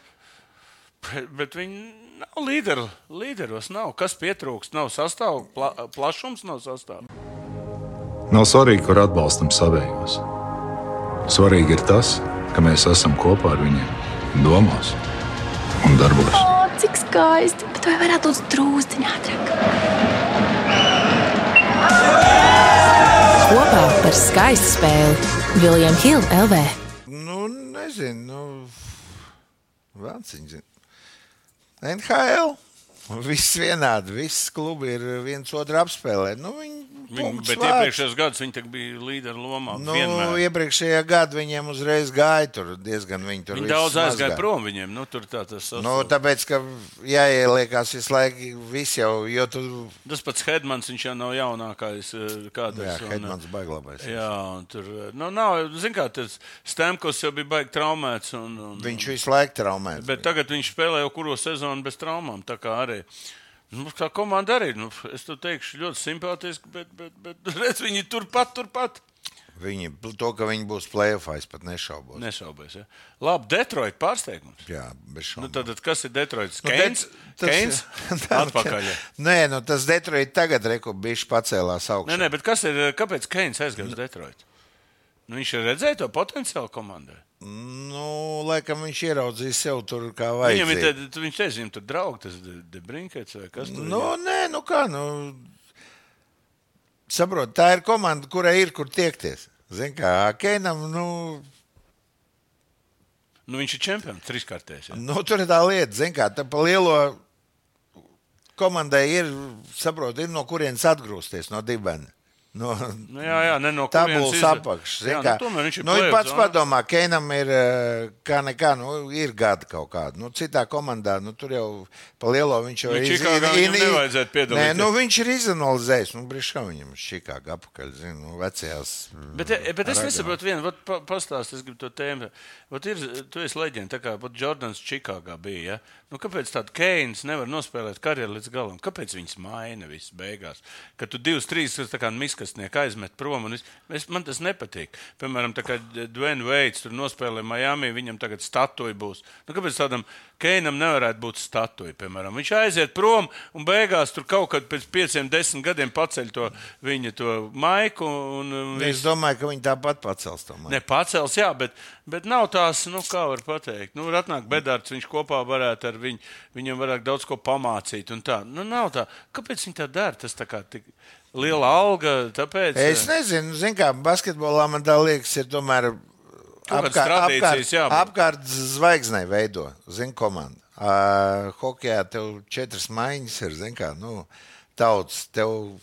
B: Bet, (laughs) bet viņi nav līderi. Līderos nav. Kas pietrūkst? Nav sastāvā. Pla, plašums nav sastāvā.
D: Nav svarīgi, kur atbalstam savējos. Svarīgi ir tas, ka mēs esam kopā ar viņiem, domās un darbos.
E: O, cik skaisti! Bet vai varētu būt drūzdiņā ātrāk?
F: Kopā par skaistu spēli Viljams Hilde LV.
C: Nu, nezinu, nu, Vāciņš. NHL. Viss vienādi, viss klubi ir viens otru apspēlē. Nu, viņi,
B: Viņi,
C: punktus
B: bet
C: vāc.
B: iepriekšējos gados viņi tak bija līderi lomā.
C: Nu,
B: Nu, vienmēr.
C: iepriekšējā gadā viņiem uzreiz gāja tur diezgan viņi tur.
B: Viņi
C: visus
B: daudz aizgāja
C: mazgā.
B: prom viņiem. Nu, tur tā tas ir.
C: Nu, tāpēc, ka jāieliekās visu laiku, viss jau, jo tu.
B: Tas pats Hedmans, viņš jau nav jaunākais. eh,
C: Jā,
B: Kādreiz, un, eh,
C: Hedmans baiglabājas.
B: Jā, un tur eh, nu, nav. Ziniet, kā tas Stemkos jau bija baigi traumēts. Un, un,
C: Viņš visu laiku traumē.
B: Bet tagad viņš spēlē jau kuru sezonu bez traumām. Tā kā arī. Nu, tā komanda arī, nu, es to teikšu, ļoti simpātiski, bet, bet, bet (laughs) redz, viņi turpat, turpat
C: Viņi, to, ka viņi būs plēsoņā, es pat nešaubos. Ne.
B: nešaubās. Ja? Labi, Detroit pārsteigums.
C: Jā, bez šaubām.
B: Nu, tad, tad kas ir Detroits?
C: Nu,
B: Keins?
C: tas-
B: Keins?
C: (laughs) Tā- (laughs)
B: Atpakaļ. ja.
C: Nē, nu, tas Detroit tagad rekubīši pacēlās
B: Nē,
C: augšā.
B: nē, bet kas ir, kāpēc Keins aizgāja uz Detroit? Nu, viņš jau redzēja to potenciālu komandai.
C: Nu, laikam viņš ieraudzīja sev tur kā vajag.
B: Viņam ir, te, tu- viņš teica, viņam tur draugs, tas Debrinkets vai kas tur
C: Nu, nē, nu kā, nu. Saprotu, tā ir komanda, kurai ir kur tiekties. Ziniet, kā Keinam, nu,
B: Nu, viņš ir čempions, trīskārtējs. Ja?
C: Nu, tur ir tā lieta, zin, kā tā pa lielo komandai ir, saprot, ir no kurienes atgrūsties, no dibena. No,
B: Nu, jā, jā, ne no
C: tā
B: kurienes
C: būs
B: izve-
C: apakšs.
B: Jā, nu, tomēr viņš ir
C: nu,
B: playoff
C: pats
B: zonā.
C: padomā, Keinam ir eh, kā nekā, nu, ir gada kaut kāda. Nu, citā komandā, nu, tur jau pa lielo viņš jau
B: Nu,
C: ir.
B: Čikāgā
C: ir-
B: viņam
C: ir-
B: nevajadzētu
C: Nē,
B: piedalīties.
C: nu, viņš ir izanalizējis, nu, brīškā viņam Čikāga apakaļ, zin, nu, vecajās.
B: Bet, e, bet es
C: Ragā.
B: nesaprotu, viena vat pa- pastāst, es gribu to tēmu. Vat ir, tu esi leģenda, tā kā pat Jordans Čikāgā bija. Ja? Nu, kāpēc tāds Keins nevar nospēlēt karjeru līdz galam? Kāpēc viņas maina viss beigās? Kad tu divus, trīs tā kā miskastnieki aizmet prom, un es, es, man tas nepatīk. Piemēram, tā kā Dwayne Veits tur nospēlē Miami, viņam tagad statuja būs. Nu, kāpēc tādam Keinam nevarētu būt statuja? Piemēram? Viņš aiziet prom un beigās tur kaut kad pēc pieciem, desmit gadiem paceļ to viņa to maiku. Un, un
C: Es domāju, ka viņi tāpat pacels to.
B: Ne pacels, jā, bet, bet nav tās, nu, kā var pateikt. Nu, Ratnāk bedārds, viņš kopā varētu ar viņu, viņam varētu daudz ko pamācīt un tā. Nu, nav tā. Kāpēc viņi tā dara? Tas tā kā tik liela alga, tāpēc.
C: Es
B: eh,
C: nezinu, zin, kā basketbolā man tā liekas, ir tomēr
B: Kaut kādas
C: apkā-
B: tradīcijas jābūt.
C: apkārt zvaigznei veido, zin, komanda. Uh, hokejā tev četras maiņas ir, zin, kā, nu, tauts, tev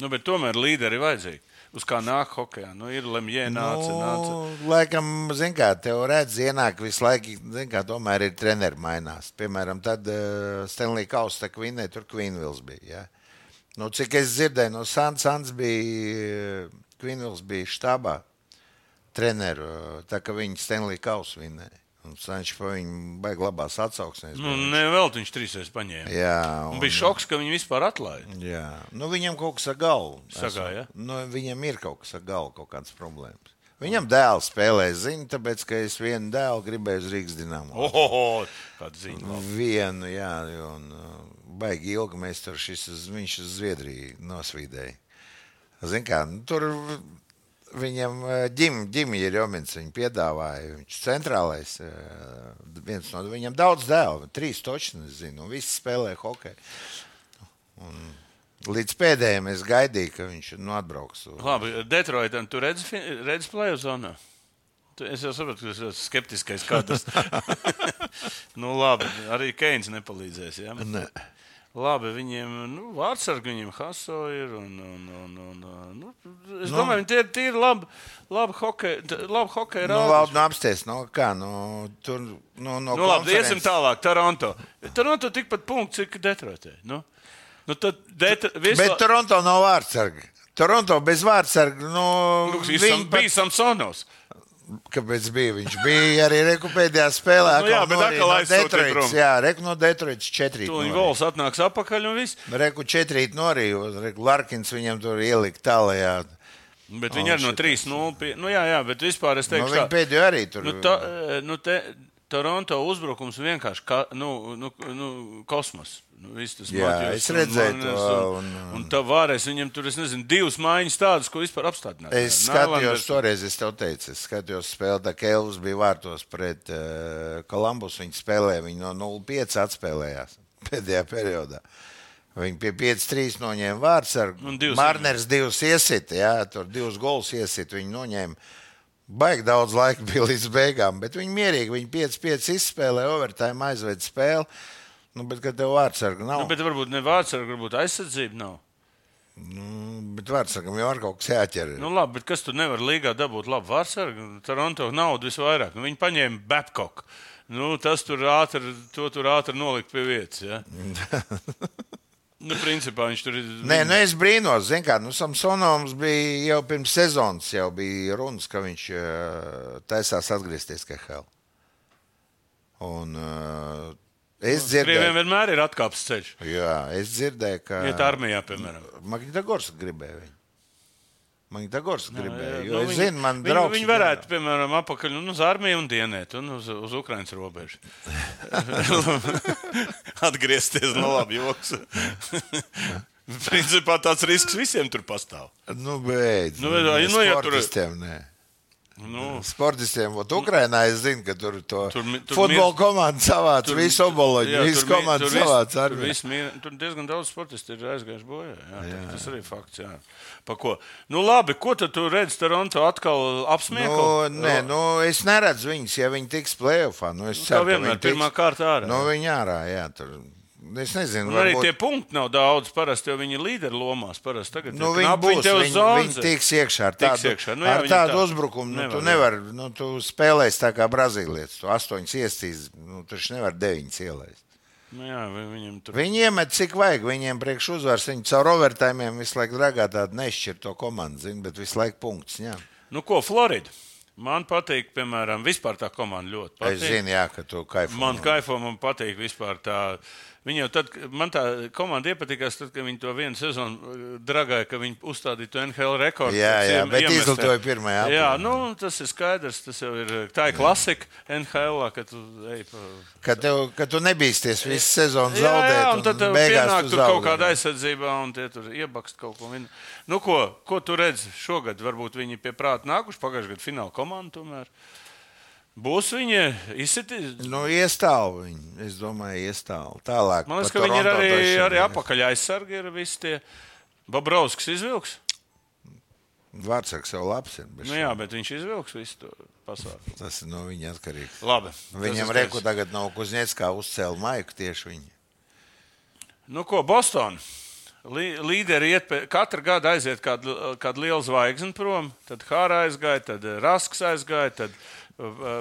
B: Nu, bet tomēr līderi vajadzīgi. Uz kā nāk hokeja. Nu, ir lemjē, nāca, nu... nāca.
C: Nu, laikam, zin, kā, tev redz, ienāk visu laiku, zin, kā, tomēr ir treneri mainās. Piemēram, tad uh, Stanley Kausta kvinē, tur Kvinvils bija, ja? Nu, cik es dzirdēju, no Sans, Sans bija, eh, Kvinvils bija štābā treneru, tā kā viņi Stanley Kausu vinēja. Un Sančs pa viņu baigi labās atsauksmēs.
B: Nu,
C: bija.
B: ne vēl viņš trīsreiz paņēma.
C: Jā,
B: Un bija šoks, ka viņi vispār atlaida.
C: Jā, nu, viņam kaut kas ar galvu.
B: Sagāja?
C: esmu- Nu, viņam ir kaut kas ar galvu, kaut kādas problēmas. Viņam dēls spēlē, zina, tāpēc, ka es vienu dēlu gribēju uz Rīgas
B: Oh.
C: dīnāmu.
B: Oho, kāda
C: Nu,
B: ziņa.
C: Vienu, jā, jo, un uh, baigi ilgi mēs tur šis, uz- viņš uz Zviedriju nosvīdēja. Zin kā, nu, tur viņam uh, ģimene ir Jomins, viņa piedāvāja, viņš centrālais, uh, viens no viņam daudz dēlu, trīs točni, es zinu, un visi spēlē hokeju. Un līdz pēdējiem es gaidīju, ka viņš nu atbrauks.
B: Labi, Detroitam tu redzi, fi- redzi plēju zonā? Tu- Es jau saprotu, ka tas ir skeptiskais katrs. (laughs) nu, labi, arī Keins nepalīdzēs. Ja?
C: Ne.
B: Labi, viņiem nu, vārdsargi viņiem Haso ir. Un, un, un, un, uh, nu, es no. domāju, viņi tie ir tīri labi, labi hokeja, t- labi hokeja
C: Nu,
B: rādītāji.
C: labi, nu apsties, nu kā, nu, tur, nu, no
B: Nu, labi, iesim
C: konferences-
B: tālāk. Toronto. Toronto tikpat punkts, cik Detroitē. Nu, nu tad Detro...
C: Bet
B: visu...
C: Toronto nav vārdsarga. Toronto bez vārdsarga. Nu,
B: Viņam bija Samsonovs.
C: Kāpēc bija? Viņš bija arī reku pēdējā spēlē.
B: Nu jā,
C: atkal
B: bet
C: norīja
B: atkal
C: no
B: aizsūtīja
C: Detroits.
B: prom.
C: Jā, reku no Detroits 4.
B: Tur viņa gols atnāks apakaļ un viss.
C: Reku 4. norīja. Reku Larkins viņam tur ielika tālajā.
B: Bet viņi arī no
C: šitās.
B: 3-0. Pie... Nu, jā, jā, bet vispār es
C: Nu,
B: teikšu,
C: viņa
B: tā,
C: pēdējo arī tur.
B: nu, tā, eh, nu, te, Toronto uzbrukums vienkārši ka, nu, nu, nu, kosmos. Nu, viss tas
C: Jā,
B: Matjūs
C: es
B: un
C: redzēju
B: Magnus
C: to,
B: Un,
C: un-
B: un tā vārēs viņam tur, es nezinu, divas mājiņas tādas, ko vispār apstādināt.
C: Es skatījos, toreiz es tev teicu, es skatījos spēli, tā kā Elvis bija vārtos pret uh, Kolumbus. Viņa spēlēja, viņa no 0,5 atspēlējās (laughs) pēdējā periodā. Viņa pie 5-3 noņēma vārds ar
B: Un divas
C: Marners divus iesita, jā, tur divus golus iesita, viņa noņēma. Baigi daudz laika bija līdz beigām, bet viņi mierīgi, viņi 5-5 izspēlēja, overtime aizved spēli. Nu, bet, kad tev vārdsarga nav,
B: Nu, bet varbūt ne vārds, varbūt aizsardzība nav.
C: nu, bet vārdsargam jau ar kaut kas jāķer.
B: Nu, labi, bet kas tur nevar līgā dabūt labu vārdsargu? Toronto naudu visvairāk. Nu, viņi paņēma Babkoku. Nu, tas tur ātri, to tur ātri nolikt pie vietas.
C: (laughs)
B: Ja? nu, principā viņš tur ir.
C: Nē, nu es brīnos, zinu, kā nu, Samsonovs bija jau pirms sezonas, jau bija runas, ka viņš eh, taisās atgriezties KHL. Un eh, es
B: Krieviem
C: dzirdēju,
B: vienmēr ir atkāpes ceļš.
C: jā, es dzirdēju ka
B: Iet armijā, piemēram.
C: Magnitogors gribēja viņu. Magnitogors gribēja,
B: Jā,
C: jo
B: nu,
C: es
B: viņi-
C: zinu, man
B: viņi,
C: draugs.
B: Viņi varētu, piemēram, apakaļ un uz armiju un dienēt, un uz, uz Ukraiņas
C: (laughs)
B: robežu. Atgriezties, nu labi,
C: (laughs)
B: joks. (laughs) Principā tāds risks visiem tur pastāv.
C: Nu, beidz.
B: Nu, vai- nu, ja tur-
C: sportistiem, nē.
B: Nu,
C: Sportistiem, vot Ukrainā es zinu, ka tur to
B: Tur mi- tur
C: futbola
B: mirst-
C: komanda savāca,
B: tur-
C: visu oboloģi,
B: jā,
C: visu
B: tur mi-
C: komandu
B: tur vis-
C: savāca.
B: Tur,
C: armijā.
B: vis mīra- tur diezgan daudz sportistu ir aizgājuši bojā. Jā, jā. Tas arī fakts. Jā. Pa ko? Nu, labi, ko tad tu redzi Toronto atkal apsmieklu?
C: Nu, nē, nu, es neredzu viņus, ja viņi tiks plēsoņā. Nu, es
B: kā
C: ceru, ka
B: vienmēr,
C: viņi tiks-
B: pirmā kārta ārā.
C: Nu, viņi ārā, jā, tur. Es nezinu,
B: Un Nu, arī
C: varbūt,
B: tie punkti nav daudz, parasti, jo viņi ir līderi lomās. Parasti tagad
C: nu,
B: ir
C: viņi
B: knapi,
C: būs.
B: tev
C: Viņi,
B: zonzē.
C: viņi tiks iekšā ar
B: Tiks
C: tādu,
B: iekšā, nu jā,
C: ar
B: viņi
C: tādu
B: tā.
C: uzbrukumu. Nu, tu
B: Nevar,
C: nevari, nu, tu spēlēsi tā kā brazīlietis. Tu astoņas iestīs, nu, taču nevar deviņas ielaist.
B: Nu, jā, vi- viņiem tur
C: Viņi iemet cik vajag, viņiem priekš uzvars, viņi caur overtājumiem visu laiku dragā tādu nešķirto komandu, zin, bet visu laiku punkts. Jā.
B: Nu, ko Florida? Man patīk, piemēram, vispār tā komanda ļoti
C: Es
B: patīk.
C: zinu, jā, ka tu kaifo.
B: Man
C: no-
B: kaifo, man patīk vispār tā. Viņa jau tad, man tā komanda iepatikās, tad, kad viņi to vienu sezonu eh, dragāja, ka viņi uzstādīja to NHL rekordu.
C: Jā,
B: pēc
C: jā,
B: iem-
C: bet
B: iemestiem.
C: izlidoja pirmajā
B: Jā,
C: apmērā.
B: nu, tas ir skaidrs, tas jau ir, eh, tā ir klasika NHL, ka tu ej pa
C: Ka, tev, ka tu nebīsties visu sezonu
B: Jā,
C: zaudēt.
B: jā, un tad tev
C: beigās
B: pienāk
C: tu
B: tur kaut
C: zaudē.
B: kāda aizsardzība, un tie tur iebakst kaut ko. Vien... Nu, ko, ko tu redzi šogad? Varbūt viņi pie prāta nākuši pagājušajā gadā fināla komandu. Tomēr. Būs viņi izsitīs.
C: Nu, iestāvu viņu. Es domāju, iestāvu. Tālāk.
B: Man liekas, ka
C: par
B: viņi ir
C: Toronto
B: arī,
C: droši vien
B: arī
C: ir.
B: apakaļ aizsargi. Ir visi tie Babrauskas izvilks.
C: Vārtsargs jau labs ir. bet
B: Nu, jā, bet viņš izvilks visu to pasākumu.
C: Tas ir no viņa atkarīgs.
B: Labi.
C: Viņam
B: tas ir
C: reku
B: skaidrs.
C: tagad nav kuzniec, kā uzcēla maiku tieši viņa.
B: Nu, ko Bostonā? Līderi iet, pie- katru gadu aiziet kādu, kādu lielu zvaigzni prom. Tad Hārā aizgāja, tad eh, Rasks aizgāja, tad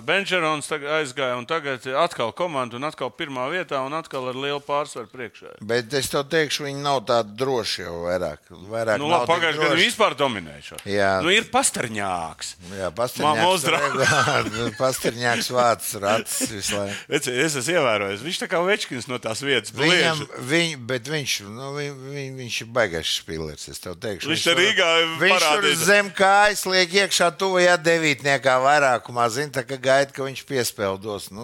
B: Benžerons aizgāja un tagad atkal komanda un atkal pirmā vietā un atkal ar lielu pārsvaru priekšā.
C: Bet es tev teikšu, viņi nav tādi droši jau vairāk. vairāk
B: Nu,
C: nav
B: labi,
C: tik
B: pagājušajā gadā
C: droši.
B: viņš vispār dominēja šo.
C: Jā.
B: Nu, ir pastarņāks.
C: Jā,
B: Mamma uzdra-
C: (laughs) pastāvīgi. Pastāvīgs vārds, rats visu laiku.
B: Es, es esmu ievērojis. Viņš tā kā večkins no tās vietas
C: Viņam,
B: blīvi.
C: viņ, bet viņš, nu, viņ, viņ, viņš ir baigājis spīlēts. Es tev teikšu,
B: Viņš te Rīgā
C: tur- viņš tur
B: parādīja.
C: zem kājas liek iekšā tuvajā devītniekā vairākumā. Zina, tā kā gaida, ka viņš piespēldos. Nu,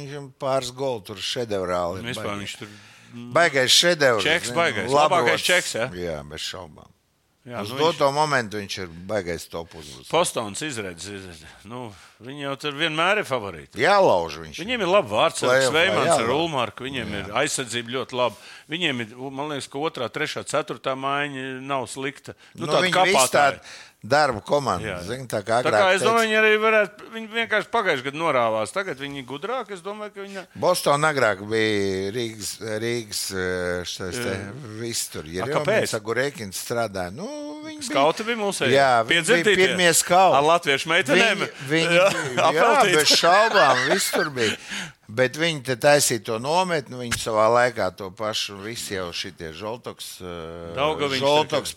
C: viņam pāris golu tur šedevrāli. ir
B: Nu, Vispār
C: baigi.
B: viņš tur.
C: Baigais šedevrs.
B: Čeks
C: zini,
B: baigais.
C: labrots.
B: Labākais čeks, jā?
C: Jā, bez šaubām.
B: Jā,
C: Uz
B: nu, viņš-
C: doto momentu viņš ir baigais top uzbrucējs.
B: Postons izredzes. Nu, viņi jau tur vienmēr ir favorīti.
C: Jālauž viņš.
B: Viņiem ir labi vārds,
C: Playoffā,
B: Veimans
C: jā.
B: ar Ulmārku, viņiem jā. ir aizsardzība ļoti laba. Viņiem ir, man liekas, ka otrā, trešā, ceturtā maiņa nav slikta. Nu, nu, tāda
C: viņi visi
B: kapātāja.
C: tādi darba komanda.
B: Jā.
C: Zin, tā kā
B: Tā kā
C: agrāk
B: es domāju,
C: teica,
B: viņi arī varētu, viņi vienkārši pagājušajā gadā norāvās. Tagad viņi ir gudrāki. Es domāju, ka viņi
C: Bostonā agrāk bija Rīgas, Rīgas eh, šis te viss tur. Ja
B: A, kāpēc?
C: Sagurēkins strādāja. Nu, viņi
B: skauti bija mūsu
C: Jā, viņi bija pirmie skauti.
B: Ar latviešu meitenēm.
C: Viņi, viņi bija jā, bez
B: apeltīti.
C: šaubām, viss tur bija. Bet viņi te taisīja to nometni, viņi savā laikā to pašu, visi jau šitie žoltoks, eh,
B: Daugaviņš
C: žoltoks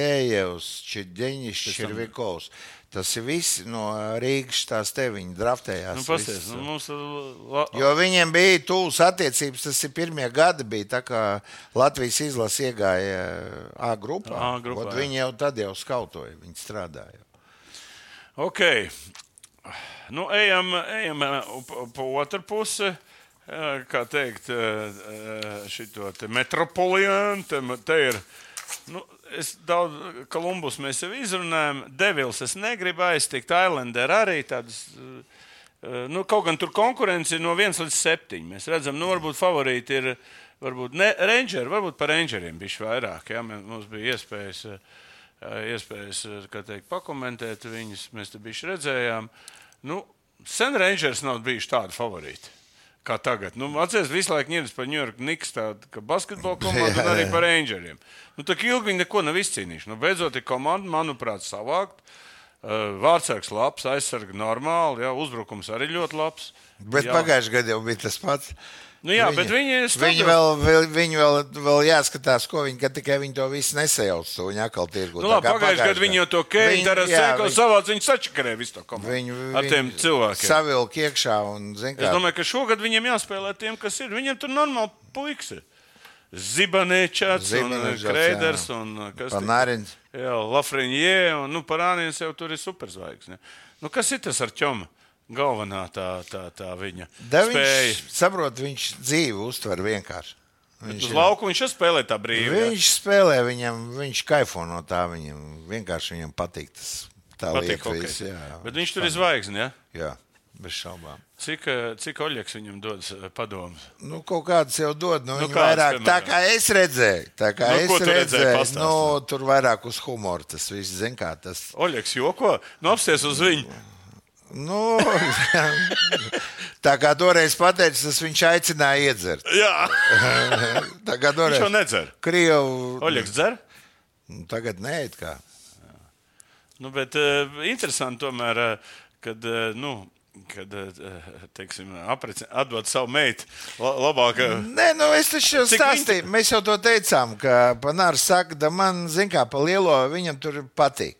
C: Pontiļējevs, Čedeņš,
B: tam-
C: Červikovs. Tas ir viss no Rīgas, tās te viņi draftējās.
B: Nu, pasties,
C: viss.
B: nu, mums, la, la,
C: Jo viņiem bija tūlis attiecības, tas ir pirmie gadi, bija tā kā Latvijas izlase iegāja eh, A grupā.
B: A grupā,
C: Ot
B: jā.
C: Viņi jau tad jau skautoja, viņi strādāja.
B: Ok. Nu, ejam, ejam eh, pa- pa otru pusi. eh, Kā teikt, šo te metropoliānu te, ma- te ir. Nu, es daudz, Kolumbus mēs jau izrunājam, Devils es negribu aiztikt, Islander arī tādas. eh, Nu, kaut gan tur konkurence ir no 1 līdz 7. Mēs redzam, nu, varbūt favorīti ir varbūt ne Rangers, varbūt par Rangeriem bija vairāk. Jā, Mē- mums bija iespējas. eh, iespējas eh, kā teikt, pakomentēt viņas. Mēs te bijām redzējām, nu, sen Rangers nav bijuši tādi favorīti. Kā tagad. Nu, Atcerieties, visu laiku ņēmis par New York Knicks, tādu kā basketbola
C: (laughs)
B: komandu, un arī par Rangeriem. Nu, tā kā ilgi viņi neko nav izcīnījuši. Nu, beidzot, ir komanda, manuprāt, savākt. Eh, Vārtsargs labs, aizsargs normāli, jā, uzbrukums arī ļoti labs.
C: Bet
B: Jā.
C: pagājušajā gadā jau bija tas pats.
B: Nu jā, bet viņi ir stabili.
C: viņi vēl, vēl, viņi vēl, vēl jāskatās, ko viņi kad tikai viņi to visu nesajauc. to Viņi atkal tirgu.
B: Nu, labi, pagājušajā gadā viņi jau to kēniņu darīja, sēko savāc, viņi sačakarē visu to komandu.
C: Viņu,
B: ar tiem cilvēkiem.
C: savilka iekšā un zina,
B: Es
C: kā
B: domāju, ka šogad viņiem jāspēlē tiem, kas ir. Viņiem tur normāli puikas ir. Zibanečāts,
C: Zibanečads, jā.
B: Kreiders un uh, kas
C: Panārins.
B: Jā, Lafrenier un nu, Parānijas jau tur ir superzvaigzne. Nu, kas ir tas ar ķomu? Galvenā tā, tā, tā viņa
C: Da
B: spēja.
C: viņš saprot, viņš dzīvi uztver vienkārši.
B: Viņš uz
C: ir-
B: lauku viņš jau spēlē tā brīvi. jā.
C: Viņš spēlē, viņam, viņš kaifo no tā. Viņam vienkārši viņam patīk tas. Tā
B: patīk
C: lieta,
B: hokejs.
C: viss, jā.
B: Bet viņš tur ir zvaigzne. Ja?
C: Jā, bez šaubām.
B: Cik, eh, cik Oļeks viņam dodas uh, padomus?
C: Nu, kaut kāds jau dod, nu,
B: Nu,
C: nu
B: kāds,
C: vairāk, tā
B: piemēram?
C: kā es redzēju, tā kā
B: Nu,
C: es
B: ko tu redzēji?
C: redzēju,
B: Pastāsti.
C: nu, tur vairāk uz humoru tas viss, zin kā tas.
B: Oļeks joko, nu apsties uz viņu.
C: Nu, (laughs) tā kā toreiz pateicis, tas viņš aicināja iedzert.
B: Jā, (laughs)
C: Tā kā toreiz.
B: viņš jau nedzer.
C: Krievu.
B: Oļeks dzer.
C: Nu, Tagad nē, it kā.
B: Nu, bet uh, interesanti tomēr, uh, kad, uh, nu, kad uh, teiksim, apreci, atdod savu meitu, la, labāk. Uh,
C: Nē, nu es taču jau
B: Cik
C: stāstīju. Mēs jau to teicām, ka Panārs saka, ka man, zin kā, pa lielo viņam tur patīk.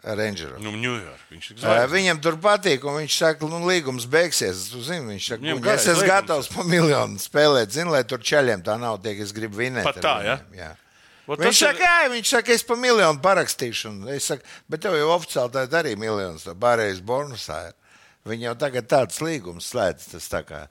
C: Rangeru.
B: nu, Ņujork, viņš ir
C: Ā,
B: zvaigznes.
C: Viņam tur patīk, un viņš saka, nu, līgums beigsies. Tu zini, viņš saka,
B: Viņam
C: nu,
B: garais
C: es esmu
B: līgums.
C: gatavs pa miljonu spēlēt, zini, lai tur ceļiem tā nav, tiek es gribu vinēt.
B: Pat
C: ar
B: tā, ja?
C: viņiem, jā.
B: Vot
C: Viņš
B: tas ir-
C: saka, jā, viņš saka, es pa miljonu parakstīšu. un Es saku, bet tev jau oficiāli tā arī miljonus pārējais bonusā. ir." Viņi jau tagad tāds līgums slēdz. Tas tā kā,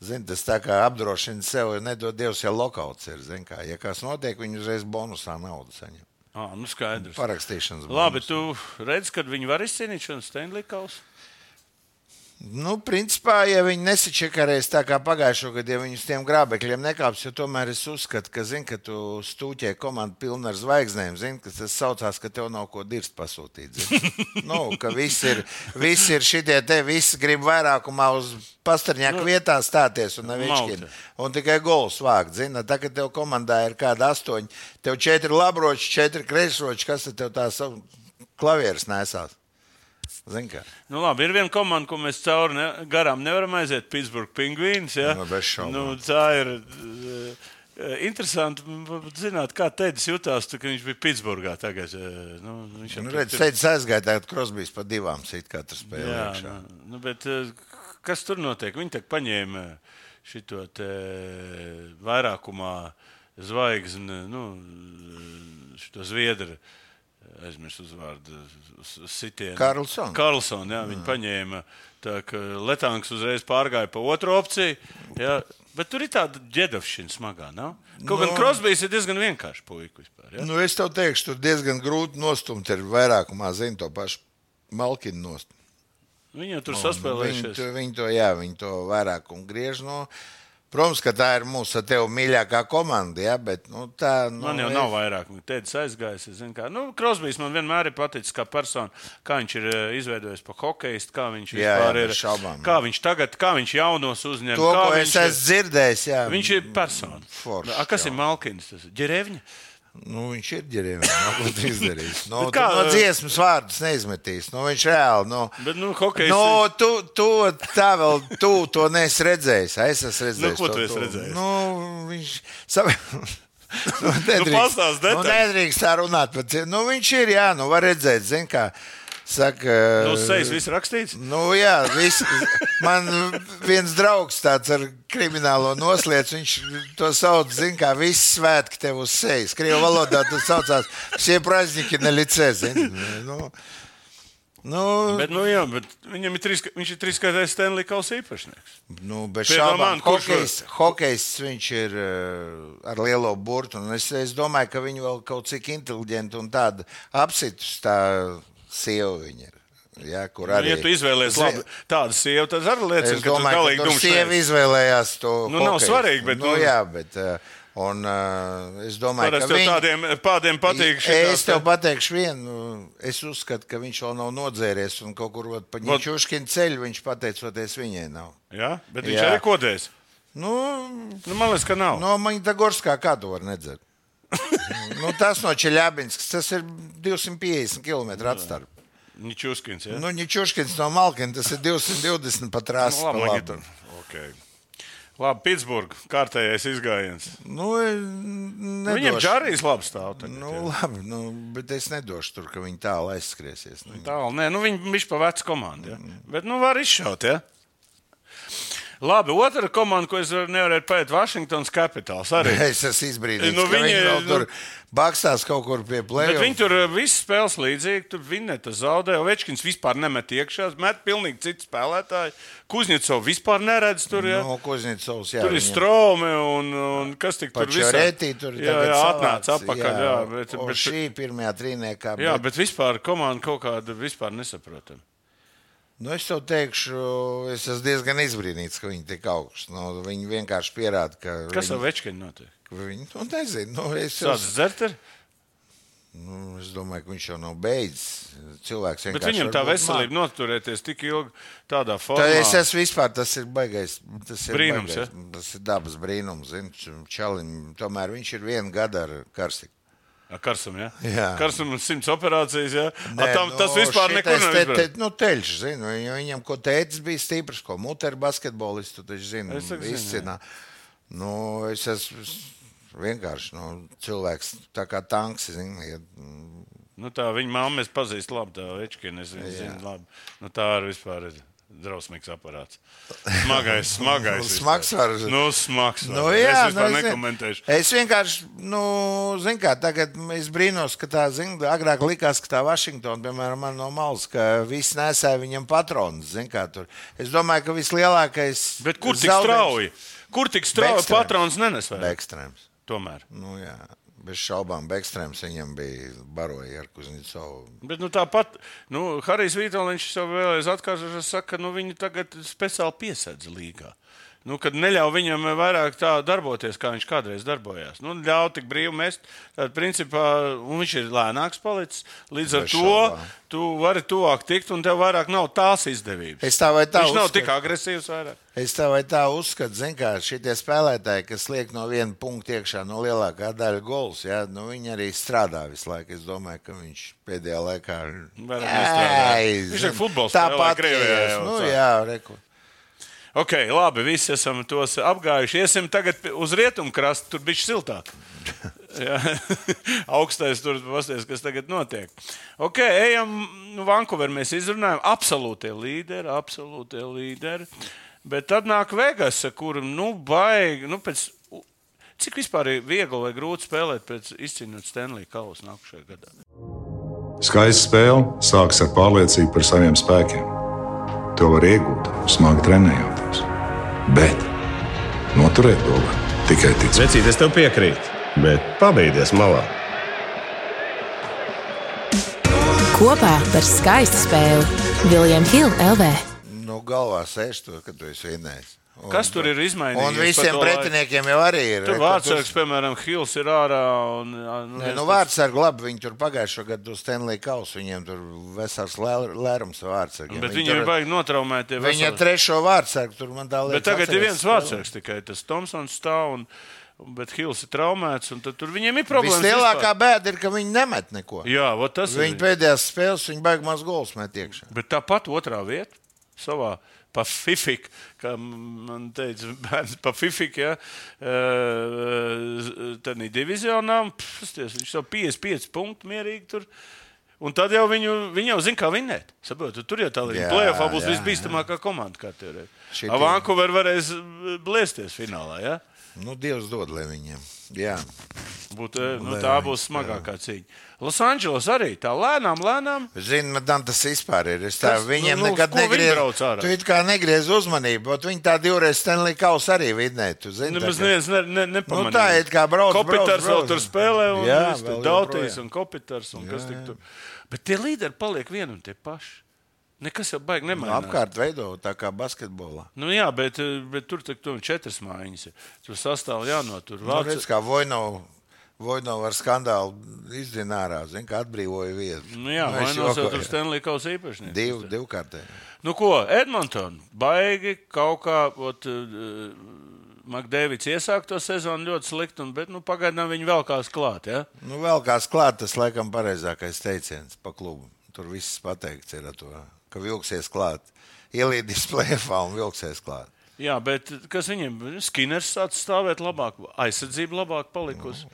C: zini, tas tā kā apdrošina sev, ja nedod Dievs, ja lokauts ir. Zini, kā, ja kas notiek, viņi uzreiz bonusā naudu saņem.
B: Ah, nu skaidrs.
C: Parakstīšanas
B: Labi, tu redz, kad viņi var izcīnīt šo Steinley kausu.
C: Nu, principā, ja viņi nesačakarēs tā kā pagājušā gada, ja viņi uz tiem grābekļiem nekāps, jo tomēr es uzskatu, ka, zin, ka tu stūķē komandu pilnu ar zvaigznēm, zin, ka tas saucās, ka tev nav ko dirzt pasūtīt. zini. nu, ka visi ir, visi ir šitie te, visi grib vairākumā uz pastarņāku vietā stāties un
B: Malta.
C: nevišķi. Un tikai gols vākt, zina, tā, ka tev komandā ir kāda astoņi, tev četri labroči, četri kreisroči, kas tad tev tās klavieres nesās. Zini, kā.
B: Nu, labi, ir viena komanda, ko mēs cauri ne, garām nevaram aiziet. Pitsburgas pingvīns. Ja?
C: Nu, bez šaubām.
B: nu, tā ir. eh, eh, Interesanti mm, zināt, kā Tēdes jutās, tā, ka viņš bija Pitsburgā. Tagad, eh, nu, viņš jau
C: Nu,
B: tur-
C: redz,
B: tur-
C: Sēdz aizgāja, tagad Krosbīs pa divām sit katru spēli.
B: Jā,
C: iekšā.
B: nu, nu, bet, eh, kas tur notiek? Viņi tā paņēma šo vairākumā zvaigzni, nu, šo zviedru. Aizmirsu uzvārdu. uz- uz sitienu.
C: Karlsonu?
B: Karlsonu, jā,
C: Mm.
B: viņi paņēma. Tā kā Latvijas uzreiz pārgāja pa otru opciju. Jā. Bet tur ir tāda ģērbšana smagā. Nav? Kaut no. gan
C: Nu.
B: Krosbīs ir diezgan vienkāršs puisis vispār. Jā?
C: Nu, es tev teikšu, tur diezgan grūti nostumt. Ir vairākumā zina to pašu Malkinu nost.
B: Viņi jau tur
C: Nu, Viņi,
B: saspēlējušies.
C: to- viņi to, jā, viņi to vairāk un griež. No. Protams, ka tā ir mūsu ar tevi mīļākā komanda, jā, bet nu, tā nu,
B: Man jau
C: es-
B: nav vairāk, nu, tēdes aizgājis. es zinu, kā. Nu, Krosbīs man vienmēr ir paticis kā persona, kā viņš ir eh, izveidojis pa hokeju, kā viņš
C: Jā, jā,
B: vispār ir.
C: bez šaubām.
B: Kā viņš tagad, kā viņš jaunos uzņem.
C: To,
B: Nu, kā
C: ko
B: viņš
C: es esmu dzirdējis, jā.
B: ir, viņš ir persona.
C: Foršs,
B: A, kas
C: jā.
B: ir Malkins? Tas ir Ģerevņa.
C: Nu, viņš ir ģērbējis. Nav ko izdarījis.
B: (laughs)
C: Nu,
B: Bet
C: kā,
B: kā,
C: no
B: eh,
C: dziesmas vārdus neizmetīs. Nu, viņš reāli. Nu,
B: Bet, nu, hokejs
C: Nu, tu, tu, tā vēl, tu to neesi redzējis. Ah, Es esmu redzējis.
B: Nu, ko
C: to,
B: tu esi redzējis?
C: Nu, viņš. Savi... (laughs) Nu,
B: pastāsti
C: nu,
B: detaļas.
C: nedrīkst tā runāt. par cilvēku. Nu, viņš ir, jā, nu, var redzēt, zin, kā saka.
B: Nu, uz sejas viss rakstīts.
C: Nu, jā, viss, man viens draugs tāds ar kriminālo noslēdz, viņš to sauc, zina, kā viss svētki tev uz sejas. Krievu valodā tas saucās, šie prazniki nelicē, zina. Nu, nu,
B: Bet, nu, jā, bet viņam ir trīs, viņš ir trīskārtais Stanley Kausa īpašnieks.
C: Nu, bez
B: Pie
C: šaubām,
B: domām, kurš
C: hokejs, hokejs viņš ir eh, ar lielo burtu. un Es, es domāju, ka viņi vēl kaut cik inteliģenti un tādi apsitus tā sieva viņa ir. Jā, kur
B: Arī. Nu,
C: arī.
B: Ja tu izvēlējies labi, tādu sievu, tad arī liecina, ka
C: Es
B: tu
C: domāju,
B: galīgi
C: ka tur sieva
B: dumšs.
C: izvēlējās to.
B: Nu, nav
C: hokeju.
B: svarīgi, bet,
C: Nu,
B: nu-
C: jā, bet. eh, Un eh, es domāju, ka
B: Parasti jau
C: viņi...
B: tādiem pādiem patīk.
C: Es
B: šitās
C: tev
B: te-
C: pateikšu, vienu. Es uzskatu, ka viņš vēl nav nodzēries un kaut kur
B: Vot.
C: paņēmušķinu ceļu. Viņš pateicoties viņai nav.
B: Jā, bet viņš
C: Jā.
B: arī kodēs.
C: Nu,
B: Nu, man liekas, ka nav.
C: No Maņģa-Gorskā kādu var
B: (laughs)
C: nedzert. nu, tas no Čeļabinskas, tas ir 250 km atstarp.
B: Ničuskins. Ja?
C: Nu, Ničuškins no Malkina, tas ir 220 pat rāsts.
B: Nu, labi, labi. Tur. Okay. Labi, Pitsburgā. Kārtējais izgājiens.
C: Nu,
B: Nedošu. Viņam
C: nedošu.
B: džārijas labi stāv. Tagad,
C: Nu,
B: nu,
C: labi, nu, bet es nedošu tur, ka viņi tālu aizskriesies. Nu, (laughs)
B: Tālu, nē, nu, viņi bija pa vecu komandu. Ja?
C: Mm.
B: Bet, nu, var izšaut. Ja? Labi, otra komanda, ko es nevarēju pateikt, Vašingtons Capitals. Arī.
C: es esmu izbrīnīts,
B: Nu,
C: nu, ka viņi,
B: viņi,
C: viņi vēl
B: nu-
C: tur bakstās kaut kur pie
B: Bet viņi
C: plēsoņa.
B: tur eh, viss spēlē līdzīgi. Tur Vineta zaudē. Ovečkins vispār nemet iekšā. Met pilnīgi citu spēlētāju. Kuznetsovs vispār neredz tur. Ja?
C: No Kuznicovs, jā.
B: Tur ir
C: viņam-
B: strūme un, un kas tik tur visā-
C: Pačorētī tur
B: jā,
C: tagad
B: jā,
C: savāc,
B: atnāca atpakaļ. Jā, jā, bet,
C: o,
B: bet,
C: šī pirmajā trīniekā.
B: jā, bet vispār komanda kaut kāda vispār nesaprotama.
C: Nu, es tev teikšu, es esmu diezgan izbrīnīts, ka viņi tik augsts. Nu, viņi vienkārši pierāda, ka
B: Kas ar
C: viņi,
B: Večkinu notiek?
C: ka viņi nu, nezina. Nu, es,
B: Sācis
C: es,
B: dzert, ir?
C: nu, es domāju, ka viņš jau nav beidzis. Cilvēks
B: bet
C: vienkārši.
B: viņam tā
C: varbūt
B: veselība noturēties tik ilgi tādā formā.
C: Tad es esmu vispār, tas ir baisais. Tas ir
B: Brīnums,
C: baigais, tas ir dabas brīnums. Zin, čalim, tomēr viņš ir viena gada ar karstiku.
B: Ar Karsam, jā.
C: Jā.
B: Karsam un simts operācijas, jā. Nē, tam, nu, tas vispār nekur
C: šitais te-
B: nav.
C: te- Nu, teļš, zinu, viņam, viņam ko teicis, bija stiprs, ko mutēra basketbolists. Tu taču zini,
B: Es saku, zinu,
C: izcīnā. Nu, es esmu es vienkārši nu, cilvēks, tā kā tanks. Zinu, ja, mm,
B: Nu, tā viņa mamma es pazīstu labi, tā Večkina. Es viņu zinu labi. Nu, tā ir vispār. Ir. Drausmīgs aparāts.
C: (laughs)
B: Smagais, smagais.
C: Nu, smags
B: vispār.
C: var-
B: Nu, smags.
C: Nu,
B: var.
C: jā,
B: es
C: nu,
B: vispār
C: es zinu.
B: nekomentēšu.
C: Es vienkārši, nu, zinu, kā tagad es brīnos, ka tā, zinu, agrāk likās, ka tā Vašingtona, piemēram, man no malas, ka viss nesēja viņam patronus. Zinu, kā tur. Es domāju, ka vislielākais.
B: Bet kur tik
C: zaudējums-
B: strauji? Kur tik strauji
C: Bekstrēms.
B: patrons nenes vēl?
C: Bekstrēms.
B: Tomēr.
C: Nu, jā, bez šaubām, Bekstrēms viņam bija baroja ar Kuznicovu.
B: Bet, nu, tāpat, nu, Harijs Vitoļņš jau vēlreiz atkārtojas, saka, ka nu, viņi tagad speciāli piesedz līgā. Nu, kad neļauj viņam vairāk tā darboties, kā viņš kādreiz darbojās. Nu, ļauj tik brīvi mest, tad, principā, un viņš ir lēnāks palicis. Līdz ar
C: Bez
B: to
C: šaubām.
B: tu vari tuvāk tikt, un tev vairāk nav tās izdevības.
C: Es tā vai tā
B: viņš nav
C: uzskatu.
B: tik agresīvs vairāk.
C: Es tā vai tā uzskatu, zin, kā šie spēlētāji, kas liek no viena punkta iekšā no lielākā daļa gols, ja, nu, viņi arī strādā visu laiku. Es domāju, ka viņš pēdējā laikā ir.
B: Vairāk nestrādā.
C: Ei,
B: Viņš
C: zin,
B: ir futbols spēlē,
C: Tāpat
B: Krievijā
C: ir.
B: jau,
C: Nu,
B: tā.
C: jā, reku.
B: Ok, labi, visi esam tos apgājuši. Iesim tagad pi- uz rietumu krastu, tur bija
C: (laughs)
B: siltāk. Jā, (laughs) augstais tur pasties, kas tagad notiek. Ok, ejam, nu, Vankūverā mēs izrunājam, absolūtie līderi, absolūtie līderi. Bet tad nāk Vegasa, kur, nu, baigi, nu, pēc. u- Cik vispār ir viegli vai grūti spēlēt pēc izcīnīt Stanley Kausu nākamajā gadā?
D: Skaista spēle sākas ar pārliecību par saviem spēkiem. To var iegūt, smagi trenējoties. Bet noturēt to var tikai ticēt.
G: Vecīt, es tev piekrītu, bet pabeigties malā.
F: Kopā par skaistu spēli Viljams Hilde LV.
C: Nu, galvā sēž to, ka tu esi vienais. Un-
B: Kas tur ir izmainījies?
C: Un
B: pa
C: visiem
B: to laiku?
C: pretiniekiem jau arī ir.
B: Tur
C: reku,
B: vārdsargs, piemēram, Hills ir ārā. Un, nu,
C: Nē,
B: viens
C: nu,
B: pats-
C: vārds ar labu. Viņi tur pagājušā gada Stanley Kausu. Viņiem tur vesels lēr- lērums vārds.
B: Bet viņi ir baigi notraumēti. ja
C: Viņa
B: veseli.
C: trešo vārdsargu tur man tā liekas.
B: Bet tagad ir
C: atceries
B: viens vārdsargs tikai tas Tomsons stāv. Un, Bet Hills ir traumēts, un tad tur viņiem ir problēmas.
C: Nu, Vislielākā
B: vispār.
C: bēda ir, ka viņi nemet neko.
B: Jā, vot tas ir.
C: Viņa
B: viņa.
C: pēdējās spēles, viņa baigās maz gols met iekšā.
B: Bet tāpat otrā vieta savā Pacific, kā man teica, bērns Pacific, ja, tādā divizionā, psties, viņš jau 55 punktu mierīgi tur. Un tad jau viņu, viņi jau zina, kā vinēt. Saprotu, tur jau tā līnija.
C: Jā,
B: Plēsoņā būs
C: jā,
B: visbīstamākā komanda. Kā tev ir?
C: Šitie-
B: Vankūverā varēs blēsties finālā. Ja?
C: Nu, Dievs dod, lai viņiem. Jā,
B: Būt, eh, nu, tā būs smagākā cīņa. Losandželos arī tā lēnām, lēnām.
C: zinu, man tas vispār ir. Es tā,
B: Kas-
C: Kas, viņiem
B: nu, nu,
C: nu, nekad
B: ko viņi brauc
C: negriez.
B: ārā?
C: Tu it kā negriez uzmanību, bet viņi tā divreiz Stanley Kaus arī vidnē. Tu zini,
B: Nemaz
C: tā,
B: neviens Nu, ne, ne, nepamanīja.
C: Nu, tā it kā brauc, brauc,
B: Kopitars vēl
C: brauc.
B: tur spēlē, un
C: Jā,
B: viss tur
C: vēl
B: Dautīs
C: joprojām.
B: un Kopitars un kas tik tur. Bet tie līderi paliek vieni un tie paši. Nekas jau baigi
C: ka, nu,
B: nemainās.
C: apkārt veido tā kā basketbolā.
B: Nu, jā, bet, eh, bet tur tur tur četras mājiņas. ir. Tur sastāv jānotur.
C: Nu,
B: Vācu...
C: redz, kā Voinovs Voinov ar skandālu izdzina ārā, zin, kā atbrīvoja vietu.
B: Nu, jā,
C: es
B: mainās jau
C: jokoju.
B: tur Stanley Kausa īpašnieks.
C: Div, divkārtē.
B: Nu, ko, Edmonton, baigi kaut kā, ot, uh, Makdēvits iesāka to sezonu ļoti slikti, un, bet nu, pagaidām viņi vēl kās klāt. Ja?
C: Nu, vēl kāds klāt, tas laikam pareizākais teiciens pa klubu. Tur viss pateikts ir ar to, ka vilksies klāt. Ielīdīs plēfā un vilksies klāt.
B: Jā, bet eh, kas viņiem ir? Skinners sācis stāvēt labāk, aizsardzība labāk palikusi.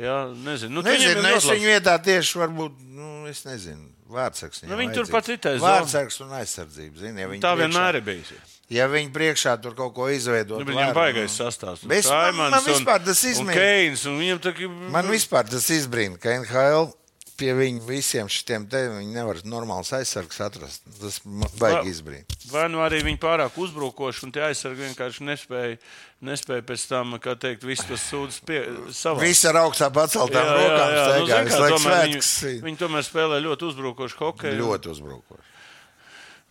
B: Jā, nezinu. Nu,
C: Nezinu,
B: viņiem ir
C: nu, es
B: ļoti
C: viņu
B: labs-
C: vietā tieši varbūt, nu, es nezinu, vārdsargs.
B: Nu, viņi tur pat ir taisa zona.
C: Vārdsargs un aizsardzība, zini, ja viņi
B: Tā
C: priekšā-
B: vienmēr ir bijusi.
C: Ja viņi priekšā tur kaut ko izveido.
B: Nu, bet viņam baigais sastāvs.
C: Bet es- man- man vispār tas izmē-
B: Keins, un viņam tā kā.
C: Man vispār tas izbrīna, ka NHL pie viņu visiem šiem te viņi nevar normāls aizsargs atrast. Tas man
B: Va-
C: baigi izbrīna.
B: Vai nu arī viņi pārāk uzbrukoši, un tie aizsargi vienkārši nespēja, nespēja pēc tam, kā teikt, visus tos sūdzes savā.
C: Visi ar augstā paceltām rokām
B: nu, zini
C: staigā.
B: kā,
C: visu laiku
B: tomēr
C: svētkus
B: viņi,
C: svin.
B: viņi tomēr spēlē ļoti uzbrukošu hokeju.
C: Ļoti uzbrukoši.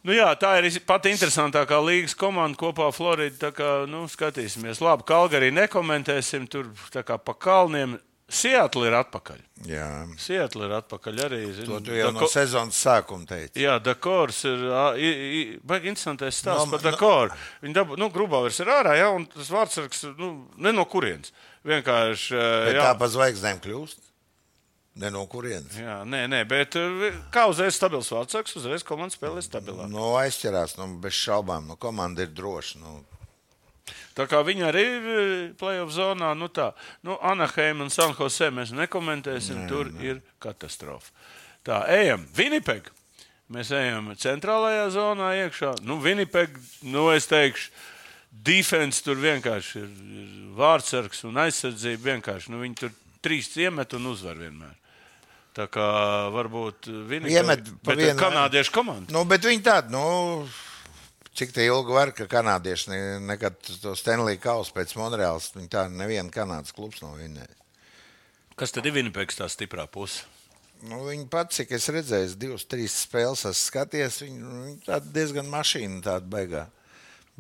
B: Nu, jā, tā ir iz- pati interesantākā līnijas komanda kopā ar Floridu. Tā Kā, nu, skatīsimies, labi, Kalgarī nekomentēsim, tur tā kā pa kalniem. Sietla ir atpakaļ.
C: Jā.
B: Sietla ir atpakaļ arī. Zin,
C: To tu jau no sezonas sākuma teici.
B: Nu, Jā, Dakors ir. ā, i- i- Baigi interesantais stāsts
C: No,
B: par
C: no-
B: Dakoru. Viņa dabū, nu, grubā vairs ir ārā, jā, un tas vārdsargs, nu, ne no kurienes. Vienkārši. ā,
C: Bet
B: jā.
C: tā pa zvaigznēm kļūst? Ne no kurienes.
B: Jā, nē, nē, bet ā, kā uzreiz stabils vārdsargs, uzreiz komanda spēlē stabilāk.
C: Nu, aizķerās, nu, bez šaubām. Nu, komanda ir droša. Nu,
B: Tā kā viņi arī ir e, playoff zonā, nu tā, nu, Anaheim un San Jose mēs nekomentēsim, nē, tur nē. ir katastrofa. Tā, ejam, Winnipeg. Mēs ejam centrālajā zonā iekšā. Nu, Winnipeg, nu, es teikšu, defense tur vienkārši ir, ir vārdsargs un aizsardzība vienkārši. Nu, viņi tur trīs iemet un uzvar vienmēr. Tā kā varbūt Winnipeg,
C: Iemet pa
B: bet ir
C: vienu, jā.
B: kanādiešu komanda.
C: Nu, bet viņi tādi, nu, cik tā ilgi var, ka kanādieši ne, nekad to Stanley Kausu pēc Monreāls, viņi tā nevienu kanādas klubs nav vinnējis.
B: Kas tad ir Winnipegs tā stiprā puse?
C: Nu, viņi pats, cik es redzēju, es divas, trīs spēles esmu skaties, viņi, viņi tādi diezgan mašīna tāda beigā.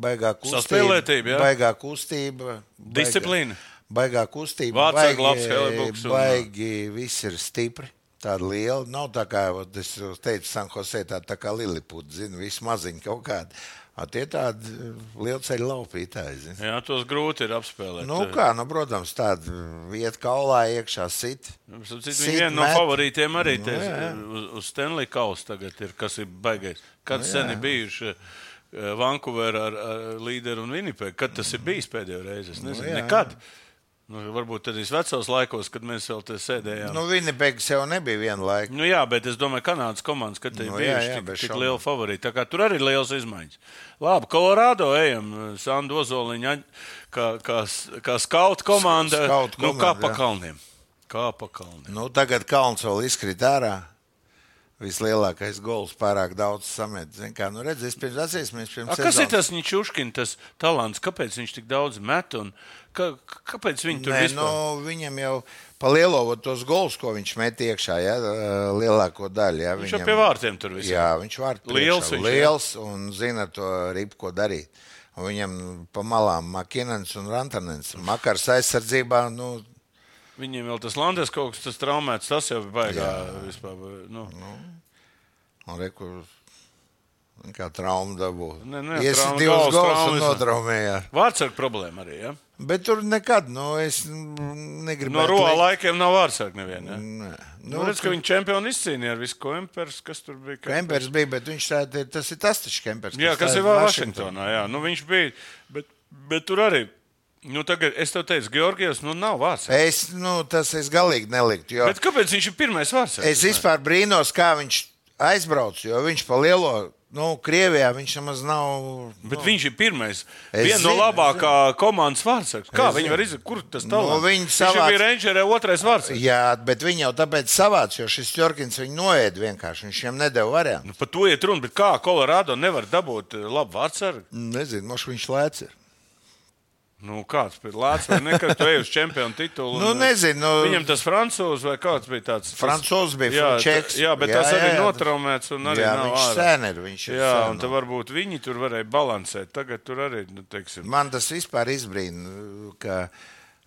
C: Baigā kustība.
B: Saspēlētība, jā.
C: Baigā kustība. baigā-
B: Disciplīna.
C: Baigā kustība.
B: Vācāk
C: baigi-
B: labs Hellebuks un-
C: Baigi viss ir stipri. Tāda liela. Nav tā kā, vot es jau teicu, Sanhosē tā, tā kā Liliput, zinu, vismaziņa kaut kāda. A, tie tādi eh, lielceļa laupītāji, zinu.
B: Jā, eh, tos grūti ir apspēlēt. e,
C: Nu, kā, nu, protams, tāda vieta kaulā iekšā sit. Sit,
B: Nu, Viena no
C: met.
B: favorītiem arī
C: Nu,
B: te,
C: jā, jā.
B: uz, uz Stanley Kausa tagad ir, kas ir baigais.
C: Nu,
B: Kad sen ir bijuši eh, Vancouverā ar, ar līderu un Winnipegu? Kad tas ir bijis pēdējo reizi? Es nezinu,
C: jā.
B: nekad. Nu, varbūt tad ir vecos laikos, kad mēs vēl te sēdējām.
C: Nu, Vinipeks jau nebija vienlaikus.
B: Nu, jā, bet es domāju, ka Kanādas komandas kad te ir
C: Nu, jā,
B: bijusi
C: jā,
B: tik,
C: bez
B: tik
C: šaubām.
B: liela favorīta. Tā kā Tur arī ir liels izmaiņas. Labi, Kolorādo ejam. eh, Sandu Ozoliņa aņ- kā, kā, s- kā skauta komanda.
C: skautu
B: nu, kā
C: komanda,
B: pa
C: jā.
B: kalniem. Kā pa kalniem.
C: Nu, tagad Kalns vēl izkrīt ārā. Vislielākais gols pārāk daudz samet. Zin Kā, nu, redz, es pirms atcerēsimies, pirms
B: A, kas ir
C: sezonas-
B: tas Ničuškins, tas talants? Kāpēc viņš tik daudz met un kā, kāpēc viņi tur
C: Nē,
B: vispār?
C: nu, viņam jau pa lielo vot tos gols, ko viņš met iekšā, ja, lielāko daļu. Ja,
B: Viņš jau pie vārtiem tur vispār.
C: Jā, viņš var
B: Liels viņš, jā.
C: liels un zina to ripu, ko darīt. Un viņam pa malām Makinens un Rantanens. Makars aizsardzībā, nu,
B: Viņiem vēl tas Landes kaut kas tas traumēts, tas jau ir baigā vispār. Nu.
C: un reku, kā trauma dabū.
B: Nē, nē,
C: Iesi
B: trauma
C: divus
B: gals,
C: gols
B: trauma
C: un
B: visu.
C: notraumēja.
B: Vārds ar problēmu arī, ja?
C: Bet tur nekad, nu, es mm, negribu.
B: No rola laikiem nav vārdsāk neviena. Ja?
C: Nē.
B: Nu, redz, ka viņi čempionu izcīnīja ar visu ko Empers, kas tur bija.
C: Kempers bija, bet viņš tā, tas ir tas taču Kempers.
B: Jā, kas
C: tā
B: ir vēl Vašingtonā. Jā, nu, viņš bija. Bet, bet tur arī. Nu, tagad es tev teicu, Georgijos, nu nav vārds.
C: Es, nu, tas es galīgi neliktu, jo
B: Bet kāpēc viņš ir pirmais vārds?
C: es vispār brīnos, kā viņš aizbrauc, jo viņš pa lielo, nu, Krievijā viņš nemaz nav.
B: Bet
C: nu,
B: viņš ir pirmais.
C: Es
B: Viena no
C: zinu,
B: labākā komandas vārdsargs. Kā
C: Es
B: viņi
C: zinu.
B: var izdarīt? Kur tas
C: Nu,
B: tālāk?
C: viņi
B: viņš
C: savāc-
B: jau bija Rangerē otrais vārds.
C: Jā, bet viņi jau tāpēc savāc, jo šis Jorkins viņu noēd vienkārši, viņš viņam nedēva variantu.
B: Nu, par to iet runa, bet kā Kolorādo nevar dabūt eh, labu vārdsargu?
C: Nu, Nezinu, moš viņš lēca.
B: Nu, kāds bija Lācis vai nekad tu ej uz čempionu titulu?
C: Nu,
B: un, eh,
C: nezinu, nu-
B: Viņam tas francūzs vai kāds bija tāds?
C: Francūzs bija,
B: jā,
C: čeks.
B: Jā, bet
C: Jā,
B: tas
C: jā,
B: arī
C: jā.
B: notraumēts un arī
C: Jā,
B: nav
C: viņš
B: ārā.
C: sen ir, viņš ir
B: jā,
C: sen,
B: un tad
C: nu.
B: varbūt viņi tur varēja balansēt. Tagad tur arī, nu, teiksim.
C: Man tas vispār izbrīna, ka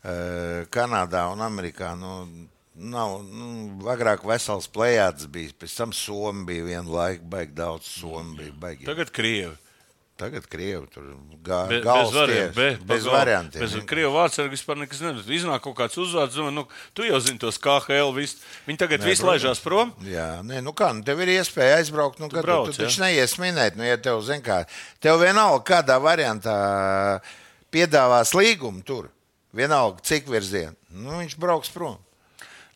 C: eh, Kanādā un Amerikā nu, nav. Nu, agrāk vesels plējāts bija, pēc tam Somija bija vienlaika, baigi daudz Somija. Baigi.
B: Tagad Krievi.
C: Tagad Krievi tur gāja
B: Be, bez variantiem. Be,
C: galvas bez
B: gal-
C: variantiem.
B: Bez
C: vienkārši.
B: krievu vārds arī vispār nekas nezinu. Iznāk kaut kāds uzvārds, un nu, tu jau zini tos KHL. Visu. Viņi tagad
C: Nē,
B: visi
C: protams.
B: laižās prom.
C: Jā, nē, nu kā, nu tev ir iespēja aizbraukt, nu, kad
B: brauc,
C: tu taču
B: jā.
C: neies minēt, nu, ja tev, zin kā, tev vienalga, kādā variantā piedāvās līgumu tur, vienalga, cik virzienu, nu, viņš brauks prom.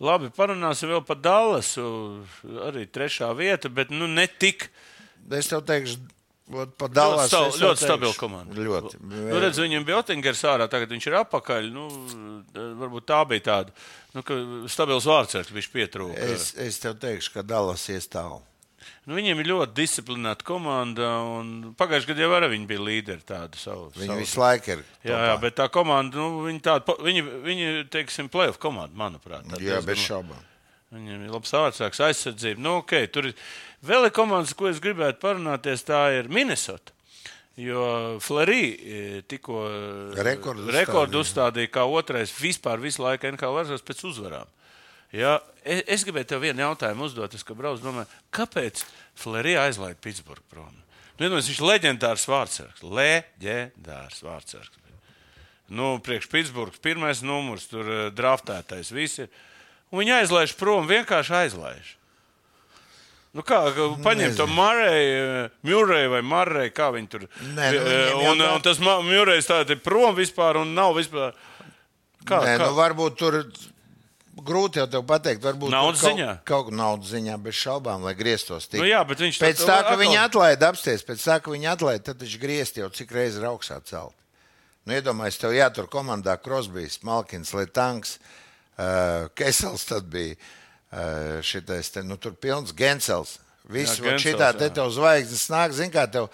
B: Labi, parunāsim vēl par Dallasu. Arī trešā vieta, bet nu ne tik.
C: Es tev teikšu, ot, pa
B: Ļoti,
C: Dallas.
B: stabi,
C: es tev
B: ļoti stabila
C: teikšu.
B: komanda.
C: Ļoti.
B: Nu, redz, viņam bija Otingers ārā, tagad viņš ir apakaļ. Nu, varbūt tā bija tāda. Nu, ka stabils vārds ar viņš pietrūka.
C: es, es tev teikšu, ka Dallas iestāv.
B: Nu, viņiem ir ļoti disciplinēta komanda. un Pagājušajā gadā jau arī viņi bija līderi tādu savu.
C: Viņi
B: savu.
C: visu laiku ir.
B: Jā, jā, bet tā komanda, nu, viņi tāda, pa- viņi, viņi teiksim, playoff komanda, manuprāt. tā
C: Jā,
B: diezgan
C: bez
B: la-
C: šaubām.
B: Viņiem ir labs vārdsāks aizsardzība. Nu, ok, tur ir vēl ir komandas, ko es gribētu parunāties, tā ir Minnesota. Jo Florija tikko eh,
C: Rekordu
B: rekordu uzstādīja kā otrais vispār visu laiku NHL varžos pēc uzvarām. Jā, es, es gribēju tev vienu jautājumu uzdot, es, kad braucu, domāju, kāpēc Florija aizlaid Pitsburgu prom? Nu, ja viņš ir leģendārs vārdsargs, leģendārs vārdsargs. Nu, priekš Pitsburgas pirmais numurs, tur eh, draftētais viss ir. Un Viņi aizlaiž prom, vienkārši aizlaiž. Nu kā, ka paņem to Marēju, Mūrēju vai Marēju, kā viņi tur.
C: Nē, nu,
B: Eh,
C: viņiem jau
B: un,
C: tā-
B: un tas Mūrējs tāds ir prom vispār un nav vispār. Kā,
C: Nē,
B: kā?
C: nu, varbūt tur grūti jau tev pateikt. Varbūt
B: Naudas
C: tur
B: ziņā?
C: Kaut, kaut naudas ziņā, bez šaubām, lai grieztos tik.
B: Nu jā, bet viņš
C: Pēc
B: tad-
C: tā, ka
B: atkal-
C: viņi atlaida apsties, pēc tā, ka viņi atlaida, tad viņš griezt jau cik reizes ir augšā celt. Nu, iedomājies, tev jātur komandā Krosbīs, Malkins, Letanks, uh, Kesels tad bija uh, šitais, te, nu tur pilns Gensels. Viss
B: Jā,
C: jā,
B: Gensels,
C: šitā te
B: jā.
C: tev zvaigznes nāk, zin kā tev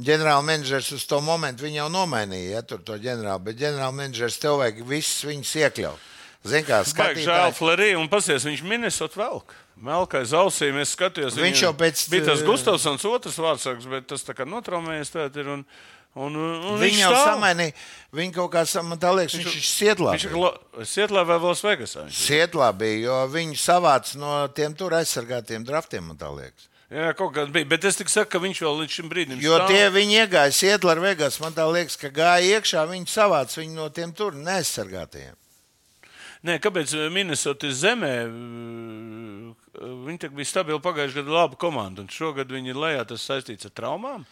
C: ģenerālmenedžers uz to momentu viņu jau nomainīja, ja tur to ģenerāli, bet ģenerālmenedžers tev vajag visus viņus iekļaut. Zin kā,
B: Baigi žēl
C: skatītāji.
B: Florija un pasies, viņš Minnesota velk. Melkais ausīm es skatījos.
C: Viņš
B: viņu-
C: jau pēc-
B: Bija
C: eh,
B: tas Gustavsons otrs vārdsargs, bet tas tā kā notraumējies tēt ir. Un, Un, un
C: Viņš
B: nu, viņš
C: jau
B: stāv.
C: samainīja, viņa kaut kā samainīja, liekas, viņš ir siedlā.
B: Viņš ir Lo- Sietlā vai Losvegasā. viņš ir?
C: Siedlā bija, jo viņu savāca no tiem tur aizsargātiem draftiem, man tā liekas.
B: Jā, kaut kāds bija. Bet es tikai saku, ka viņš vēl līdz šim brīdim
C: Jo
B: stāv.
C: tie viņi iegāja Siedlā ar Vegas, man tā liekas, ka gāja iekšā, viņi savāca viņu no tiem tur neaizsargātiem.
B: Nē, kāpēc eh, Minnesotas zemē? eh, Viņi tā bija stabili pagājušajā gadā, laba komanda. Un šogad viņi ir lejā. Tas saistīts ar traumām.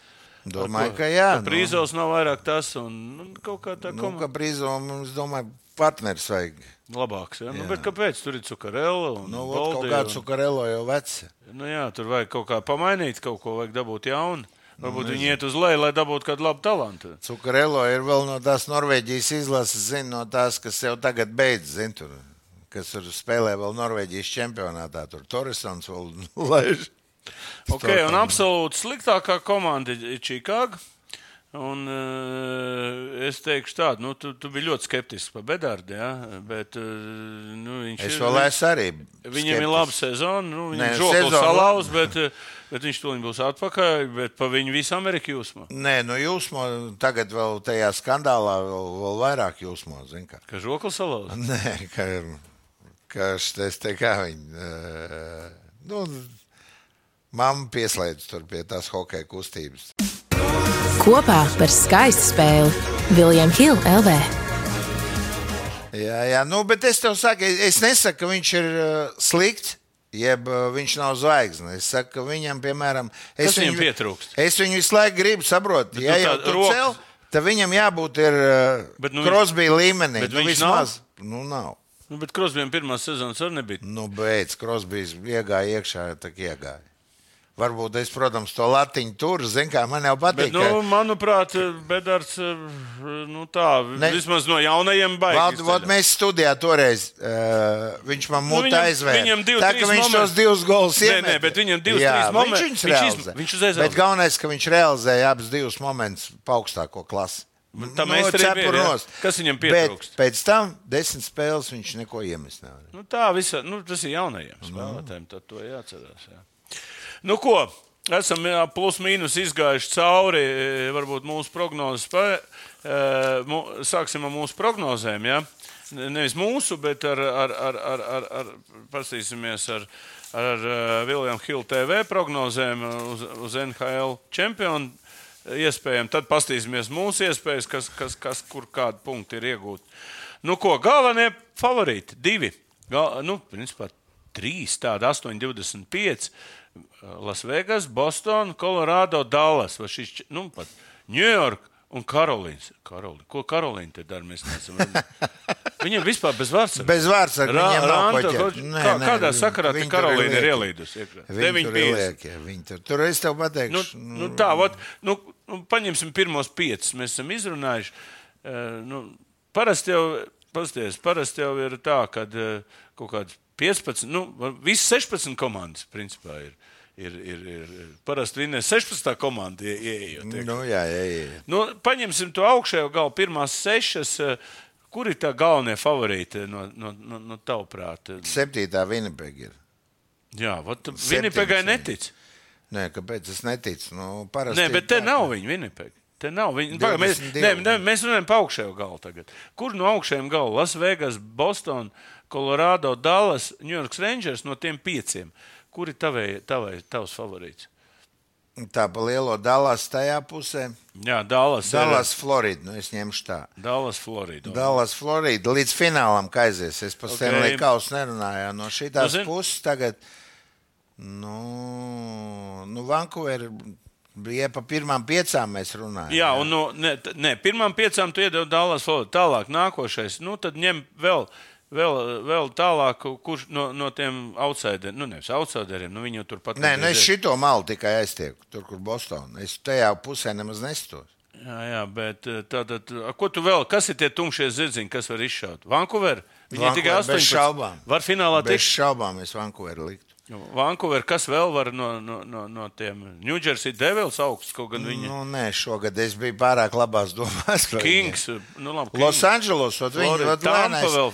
B: Ar
C: Domāju,
B: ko-
C: ka jā.
B: ka Brīzovs nav vairāk tas un, un kaut kā tā
C: nu, nu, ka
B: komanda
C: Brīzovs mums, domāju, partneris vajag.
B: labāks. Ja? Nu, bet kāpēc tur ir cukurēla un
C: Nu, vot kaut
B: Baldi un-
C: kāds Cukarelo jau vecs.
B: Nu, jā, tur vajag kaut kā pamainīt, kaut ko vajag dabūt jaunu.
C: Nu,
B: Varbūt viņi iet uz leju, lai dabūtu kādu labu talantu.
C: Cukarelo ir vēl no tās Norvēģijas izlases, zinu, no tās, kas jau tagad beidz, zinu, tur, kas tur spēlē vēl Norvēģijas čempionātā. Tur Torisons vēl nu, (laughs) laiž.
B: Okay, un absolūti sliktākā komanda ir Čikāga. Un, uh, es teikšu, tādu, nu, tu, tu biji ļoti skeptisks par Bedārdu. Ja? Bet uh, nu, viņš
C: Es
B: ir-
C: vēl esmu arī.
B: Viņam ir
C: skeptisks.
B: laba sezona. Nu,
C: Nē,
B: viņam ir žoklis
C: sezona-
B: salauz, bet, eh, bet viņš to būs atpakaļ. Bet pa viņu visu Ameriku jūsmu.
C: Nē, nu jūs man tagad vēl tajā skandālā, vēl, vēl vairāk jūs man zināt.
B: Ka žoklis salauz.
C: (laughs) Nē, ka ir. Ka es te kā viņi. eh, Nu, Māma pieslēdz tur pie tās hokeja kustības.
F: Kopā par skaistu spēli Viljams Hilde LV.
C: Jā, jā, nu, bet es tev saku, es- es nesaku, ka viņš ir eh, slikts. Jeb eh, viņš nav zvaigznes. Es saku, ka viņam, piemēram, es
B: Kas viņam pietrūkst?
C: Es viņu visu laiku gribu saprast,
B: Bet
C: ja
B: tu
C: jau
B: tā
C: tur
B: rokas-
C: cel, tad viņam jābūt ir
B: Bet, nu,
C: nu, Crosby līmenī.
B: bet
C: nu,
B: viņš
C: vismaz. Nu, nav.
B: Nu, bet Krosbīnam pirmā sezona arī nebija.
C: Nu, beidz, Crosby's iegāja iekšā, tā kā iegāja. Varbūt es, protams, to latiņu tur, zinu, kā man jau
B: Bet,
C: patīk.
B: nu,
C: ka-
B: manuprāt, Bedārds eh, nu, tā,
C: Ne.
B: vismaz no jaunajiem
C: Valdi,
B: baigās.
C: vot mēs studijā toreiz uh, viņš man mūžā nu,
B: viņam-
C: aizvērta.
B: viņam divi,
C: tā,
B: trīs
C: ka viņš
B: momenti-
C: tos divus golus
B: Nē,
C: iemet.
B: nē, bet viņam divi,
C: jā,
B: trīs momenti-
C: Viņš,
B: viņš iz-
C: viņš, realizē.
B: viņš uzreiz
C: Bet
B: realizē.
C: galvenais, ka viņš realizēja abus divus momentus pa augstāko klasi.
B: Nu, tā meistarība ir, jā.
C: cepurnos.
B: Kas viņam
C: Bet
B: pietrūkst?
C: Pēc tam desmit spēles viņš neko iemest nevarēja.
B: Nu, tā visa, nu, tas ir jaunajiem spēlētājiem. Tad to jāatcerās. Jā. Nu, ko? Esam jā, plus mīnus izgājuši cauri e, varbūt mūsu prognozes. pa- e, mu- Sāksim ar mūsu prognozēm. Jā. Ne- Nevis mūsu, bet ar, ar, ar, ar, ar, ar pasīsimies ar, ar e, Viljams Hilu TV prognozēm uz, uz NHL čempionu e, iespējām. Tad paskatīsimies mūsu iespējas, kas, kas, kas kur kādu punktu ir iegūti. Nu, ko galvenie favorīti? Divi. Gal, nu, principā trīs tādi - 8, 25. Lasvegas, eh, Boston, Colorado, Dallas. Vai šis, č- nu, pat Ņujorka un Karolīns. Karoli, ko Karolīna te dara? Mēs neesam.
C: (laughs)
B: Viņam vispār bez vārds.
C: Bez vārds ar viņiem nav ko ķert. Nē,
B: kā,
C: nē,
B: kādā
C: viņi-
B: sakarā te
C: viņi tur
B: Karolīna ir
C: lieki.
B: ielīdusi? iekšā?
C: Viņi tur ir
B: 9:50.
C: lieki. viņi tur- Tur es tev
B: Nu,
C: pateikšu.
B: nu, tā, vat, nu, nu, paņemsim pirmos piecus. Mēs esam izrunājuši. Eh, Nu, parasti jau, pasties, parasti jau ir tā, ka kaut kāds 15, nu, var- visas 16 komandas principā ir. Ir, ir, ir parasti viņa 16. komanda ie- ieejot. iekšā.
C: Nu, jā, jā, jā.
B: Nu, paņemsim to augšējo galu, pirmās sešas. eh, Kur ir tā galvenā favorīta no, no, no, no tavuprāt?
C: Septītā Winnipeg ir.
B: Jā, vot
C: Septiņas,
B: Vinipegai
C: jā.
B: netic.
C: Nē, kāpēc es neticu? Nu, parasti
B: Nē,
C: ir
B: bet te
C: tā,
B: nav viņa Winnipeg. Te nav viņa. Paga, mēs,
C: 22,
B: ne, ne,
C: jā.
B: mēs runājam par augšējo galu tagad. Kur no augšējiem galu? Lasvegas, Boston, Colorado, Dallas, New York Rangers no tiem pieciem. Kur ir tavai, tavai, tavs favorīts?
C: Tā pa lielo Dallas tajā pusē.
B: Jā, Dallas. ir-
C: Dallas, Florida. Nu, es ņemšu tā.
B: Dallas Florida.
C: Dallas, Florida. Līdz finālam kā aizies. Es par
B: Ok.
C: okay. Stanley Kausu nerunāju. No
B: Nu,
C: šīs
B: zin-
C: puses tagad. Nu, nu Vankūvera bija pa pirmām piecām mēs runājām.
B: Jā, un no, ne, t- ne, pirmām piecām tu iedod Dallas Florida. Tālāk, nākošais. Nu, tad ņem vēl. Vēl, vēl tālāk, kurš no, no tiem outsideriem, nu, nevis outsideriem, nu, viņi jau turpat.
C: Nē, nu es
B: aiziet.
C: šito malu tikai aiztieku, tur, kur Bostonā. Es tajā pusē nemaz nestos.
B: Jā, jā, bet eh, tātad, a, ko tu vēl? Kas ir tie tumšie zirdziņi, kas var izšaut? Vankūverā? Viņi
C: Vankūvera
B: tikai
C: bez
B: 18.
C: šaubām.
B: Var finālā
C: Bez
B: tikt.
C: šaubām es Vankūveru liktu.
B: Vankūverā, kas vēl var no, no, no, no tiem Ņūdžersī devils augsts, kaut gan viņi
C: Nu, nē, šogad es biju pārāk labās domās. par viņiem.
B: Kings, nu labi, Kings.
C: Losandželos, ot viņi
B: Florida,
C: ir
B: Tampa vēl.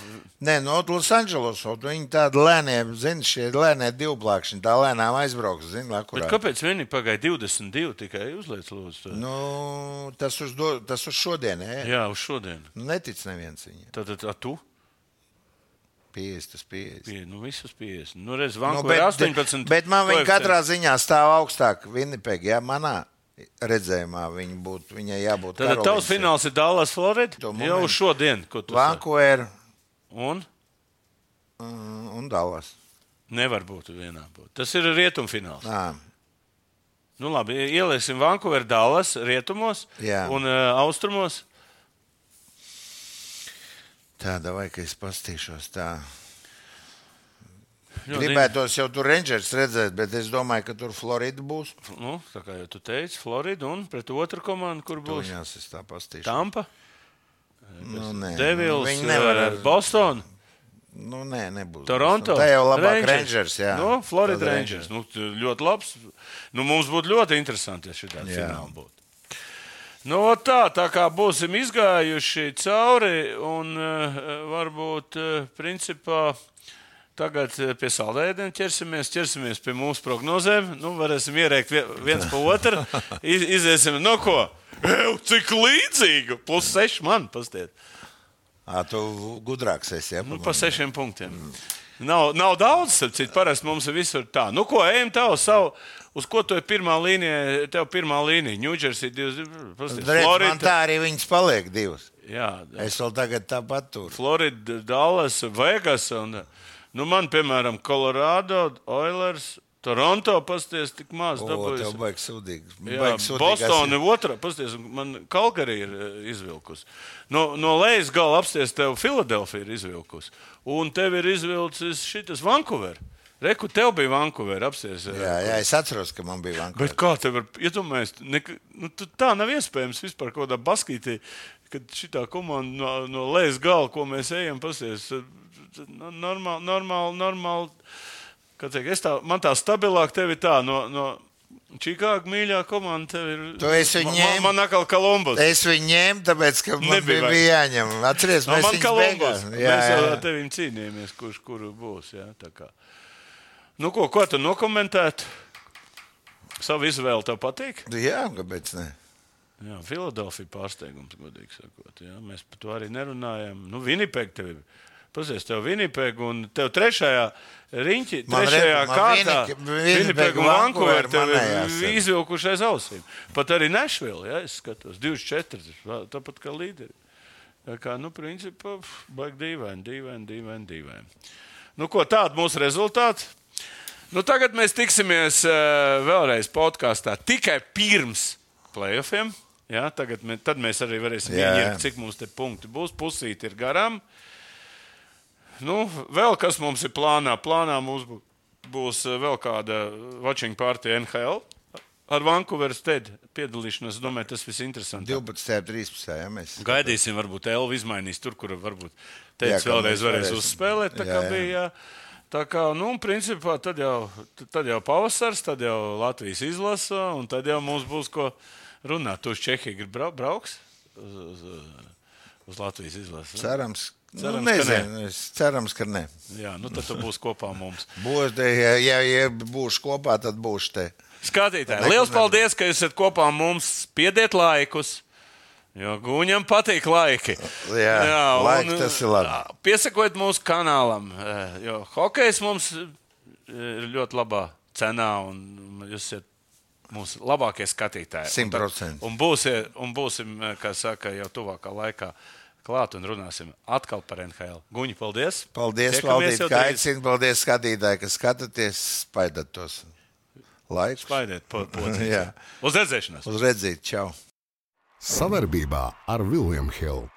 C: Nē, nu, no Losandželos, ot viņi tādi lēniem, zina, šie lēnie divplākšņi, tā lēnām aizbrauks, zina,
B: Bet
C: kurā.
B: kāpēc viņi pagāja 22 tikai uzliec lūdzu? Nu.
C: Nu, tas uz, do, tas uz šodien, nē.
B: Jā, uz šodien.
C: Nu, netic neviens viņam.
B: Tad, tad a tu?
C: 50, 50.
B: Pie, nu, visus 50. Nu, redz,
C: Nu,
B: Vankūverā
C: bet,
B: 18.
C: bet man viņa
B: koeficients.
C: katrā ziņā stāv augstāk. Winnipeg, jā, manā redzējumā viņa būtu, viņai jābūt.
B: Tad
C: Karolīnas.
B: tavs fināls ir Dallas, Florida.
C: To
B: Jau
C: momentu.
B: šodien, ko tu saki.
C: Vancouver
B: Un
C: mm, un Dallas.
B: nevar būt vienā. Būt. Tas ir rietumfināls.
C: Nā,
B: Nu, labi, ieliesim Vankūveru, Dallas, rietumos
C: Jā.
B: un uh, austrumos.
C: tāda vai ka es pastīšos tā.
B: Ļoti
C: Gribētos jau tur Rangers redzēt, bet es domāju, ka tur Florida būs.
B: in- Nu, tā kā jau tu teici, Florida un pret otru komandu, kur būs
C: Viņās es tā pastīšu.
B: Tampa,
C: Nu, nē,
B: Devils,
C: Viņi nevar.
B: eh, Boston,
C: Nu, nē, nebūs.
B: Toronto.
C: Tā jau labāk
B: Rangers.
C: Rangers, jā.
B: Nu, Florida
C: Tad
B: Rangers. Nu, t- ļoti labs. Nu, mums būtu ļoti interesanti, ja šī tāda
C: Jā.
B: fināla būtu. Nu, vot tā, tā kā būsim izgājuši cauri, un uh, varbūt uh, principā tagad eh, pie saldējuma ķersimies, ķersimies pie mūsu prognozēm. Nu, varēsim ierēkt vie- viens pa otru.
C: (laughs)
B: Iz, iziesim no ko? Ew, cik līdzīga! Plus seši man pastiet.
C: Ā, tu gudrāks esi, jā.
B: Nu,
C: pagaidi.
B: pa sešiem punktiem. Nav, nav daudz, starp citu, parasti mums ir visur tā. Nu, ko ejam tev savu? Uz ko tu esi pirmā līnija? Tev pirmā līnija, Ņūdžersī,
C: Redz, man
B: Florida.
C: tā arī viņas paliek divas.
B: Jā,
C: Es vēl tagad tāpat tur.
B: Florida, Dallas, Vegas. Un, nu, man, piemēram, Colorado, Oilers, Toronto pasties tik maz.
C: O,
B: dabūjusi.
C: tev baigs sūdīgi.
B: Jā,
C: Baigs sūdīgi
B: Bostonā
C: esi.
B: otrā, pasties, man Kalgarī ir e, izvilkusi. No, no lejas gala apsties tev Filadelfija ir izvilkusi. Un tev ir izvilcis šis Vankūver. Reku, tev bija Vankūver apsties. e,
C: Jā, jā, es atceros, ka man bija vankā.
B: Bet kā tev var iedomāties? nek- Nu, tu- tā nav iespējams vispār kaut kādā baskītī, kad šī komanda no, no lejas gala, ko mēs ejam, pasies. e, no- Normāli, normāli, normāli. Kā Teikt, es tā, man tā stabilāk tev ir tā. No, no, Čikāga mīļā komanda tev ir.
C: Tu esi
B: Man-
C: ņēm-
B: Man atkal Kolumbus.
C: Es viņu ņēmu, tāpēc, ka man
B: Nebija
C: bija, bija jāņem. Atceries,
B: No,
C: mēs
B: man
C: viņus
B: Kolumbus.
C: beigās-
B: Mēs jau
C: Jā,
B: ar
C: jā.
B: tevim cīnījāmies, kurš kuru būs. Jā, tā kā. nu, ko, ko tu nokomentētu? Savu izvēli tev patīk?
C: jā, kāpēc ne?
B: Jā, Filadelfija pārsteigums, godīgi sakot. Jā. Mēs par to arī nerunājām. Nu, Winnipeg tev ir. Pasies, tev Winnipeg un tev trešajā riņķī,
C: Man
B: trešajā
C: re- man
B: kārtā.
C: Winnipeg-
B: Winnipeg
C: Winnipeg
B: un
C: un
B: Vankūver
C: Vancouver
B: tev
C: manējās
B: ir
C: ir.
B: izvilkuši aiz ausīm. Pat arī Nešvila, ja es skatos, 24, vā- tāpat kā līderi. Tā kā, nu, principā, pf, baigi dīvaini, dīvaini, dīvaini, dīvaini. Nu, ko tāda mūsu rezultāta? Nu, tagad mēs tiksimies uh, vēlreiz podkāstā tikai pirms playoffiem. Jā, tagad mē, tad mēs arī varēsim
C: Jā.
B: ieņemt, cik mums te punkti būs. Pusīti ir garām. Nu, vēl kas mums ir plānā? Plānā mums bū- būs eh, vēl kāda watching party NHL. Ar Vankūveru steigtu piedalīšanos, es domāju, tas viss interesantākais.
C: 12. 13. Jā, mēs.
B: Gaidīsim, varbūt Elvis izmainīs tur, kur varbūt
C: Jā,
B: teiks,
C: ka
B: vēlreiz
C: mēs
B: varēs
C: varēsim.
B: uzspēlēt. Tā
C: Jā,
B: kā
C: jā.
B: bija. jā. Tā kā, nu, principā, tad jau, tad jau pavasars, tad jau Latvijas izlasa, un tad jau mums būs ko runāt. Tur Čehija grib brau, brauks uz, uz, uz Latvijas izlasi.
C: Cerams, cerams, nu,
B: Cerams, ka
C: nezinu, es- cerams, ka nē.
B: Jā, nu tad tu būs kopā mums.
C: Būs, ja, ja, ja būšu kopā, tad būšu te.
B: Skatītāji, liels paldies, ka jūs esat kopā ar mums. Spiediet laikus, jo guņam patīk laiki.
C: Jā, laiki tas ir labi.
B: ā, Piesakojiet mūsu kanālam, ā, jo hokejs mums ā, ir ļoti labā cenā un jūs esat mūsu labākie skatītāji.
C: 100%.
B: Un, būsie, un būsim, ā, kā saka, jau tuvākā laikā. Klāt un runāsim atkal par NHL. Guņi, paldies!
C: Paldies,
B: Tiekamies
C: valdīt,
B: jau
C: ka
B: drīz.
C: aicinu. Paldies, skatītāji, ka skatāties. Spaidat tos laikus.
B: Spaidiet,
C: (laughs)
B: po, po,
C: Jā.
B: Uz redzēšanos!
C: Uz redzēt, čau!
A: Savarbībā ar William Hill.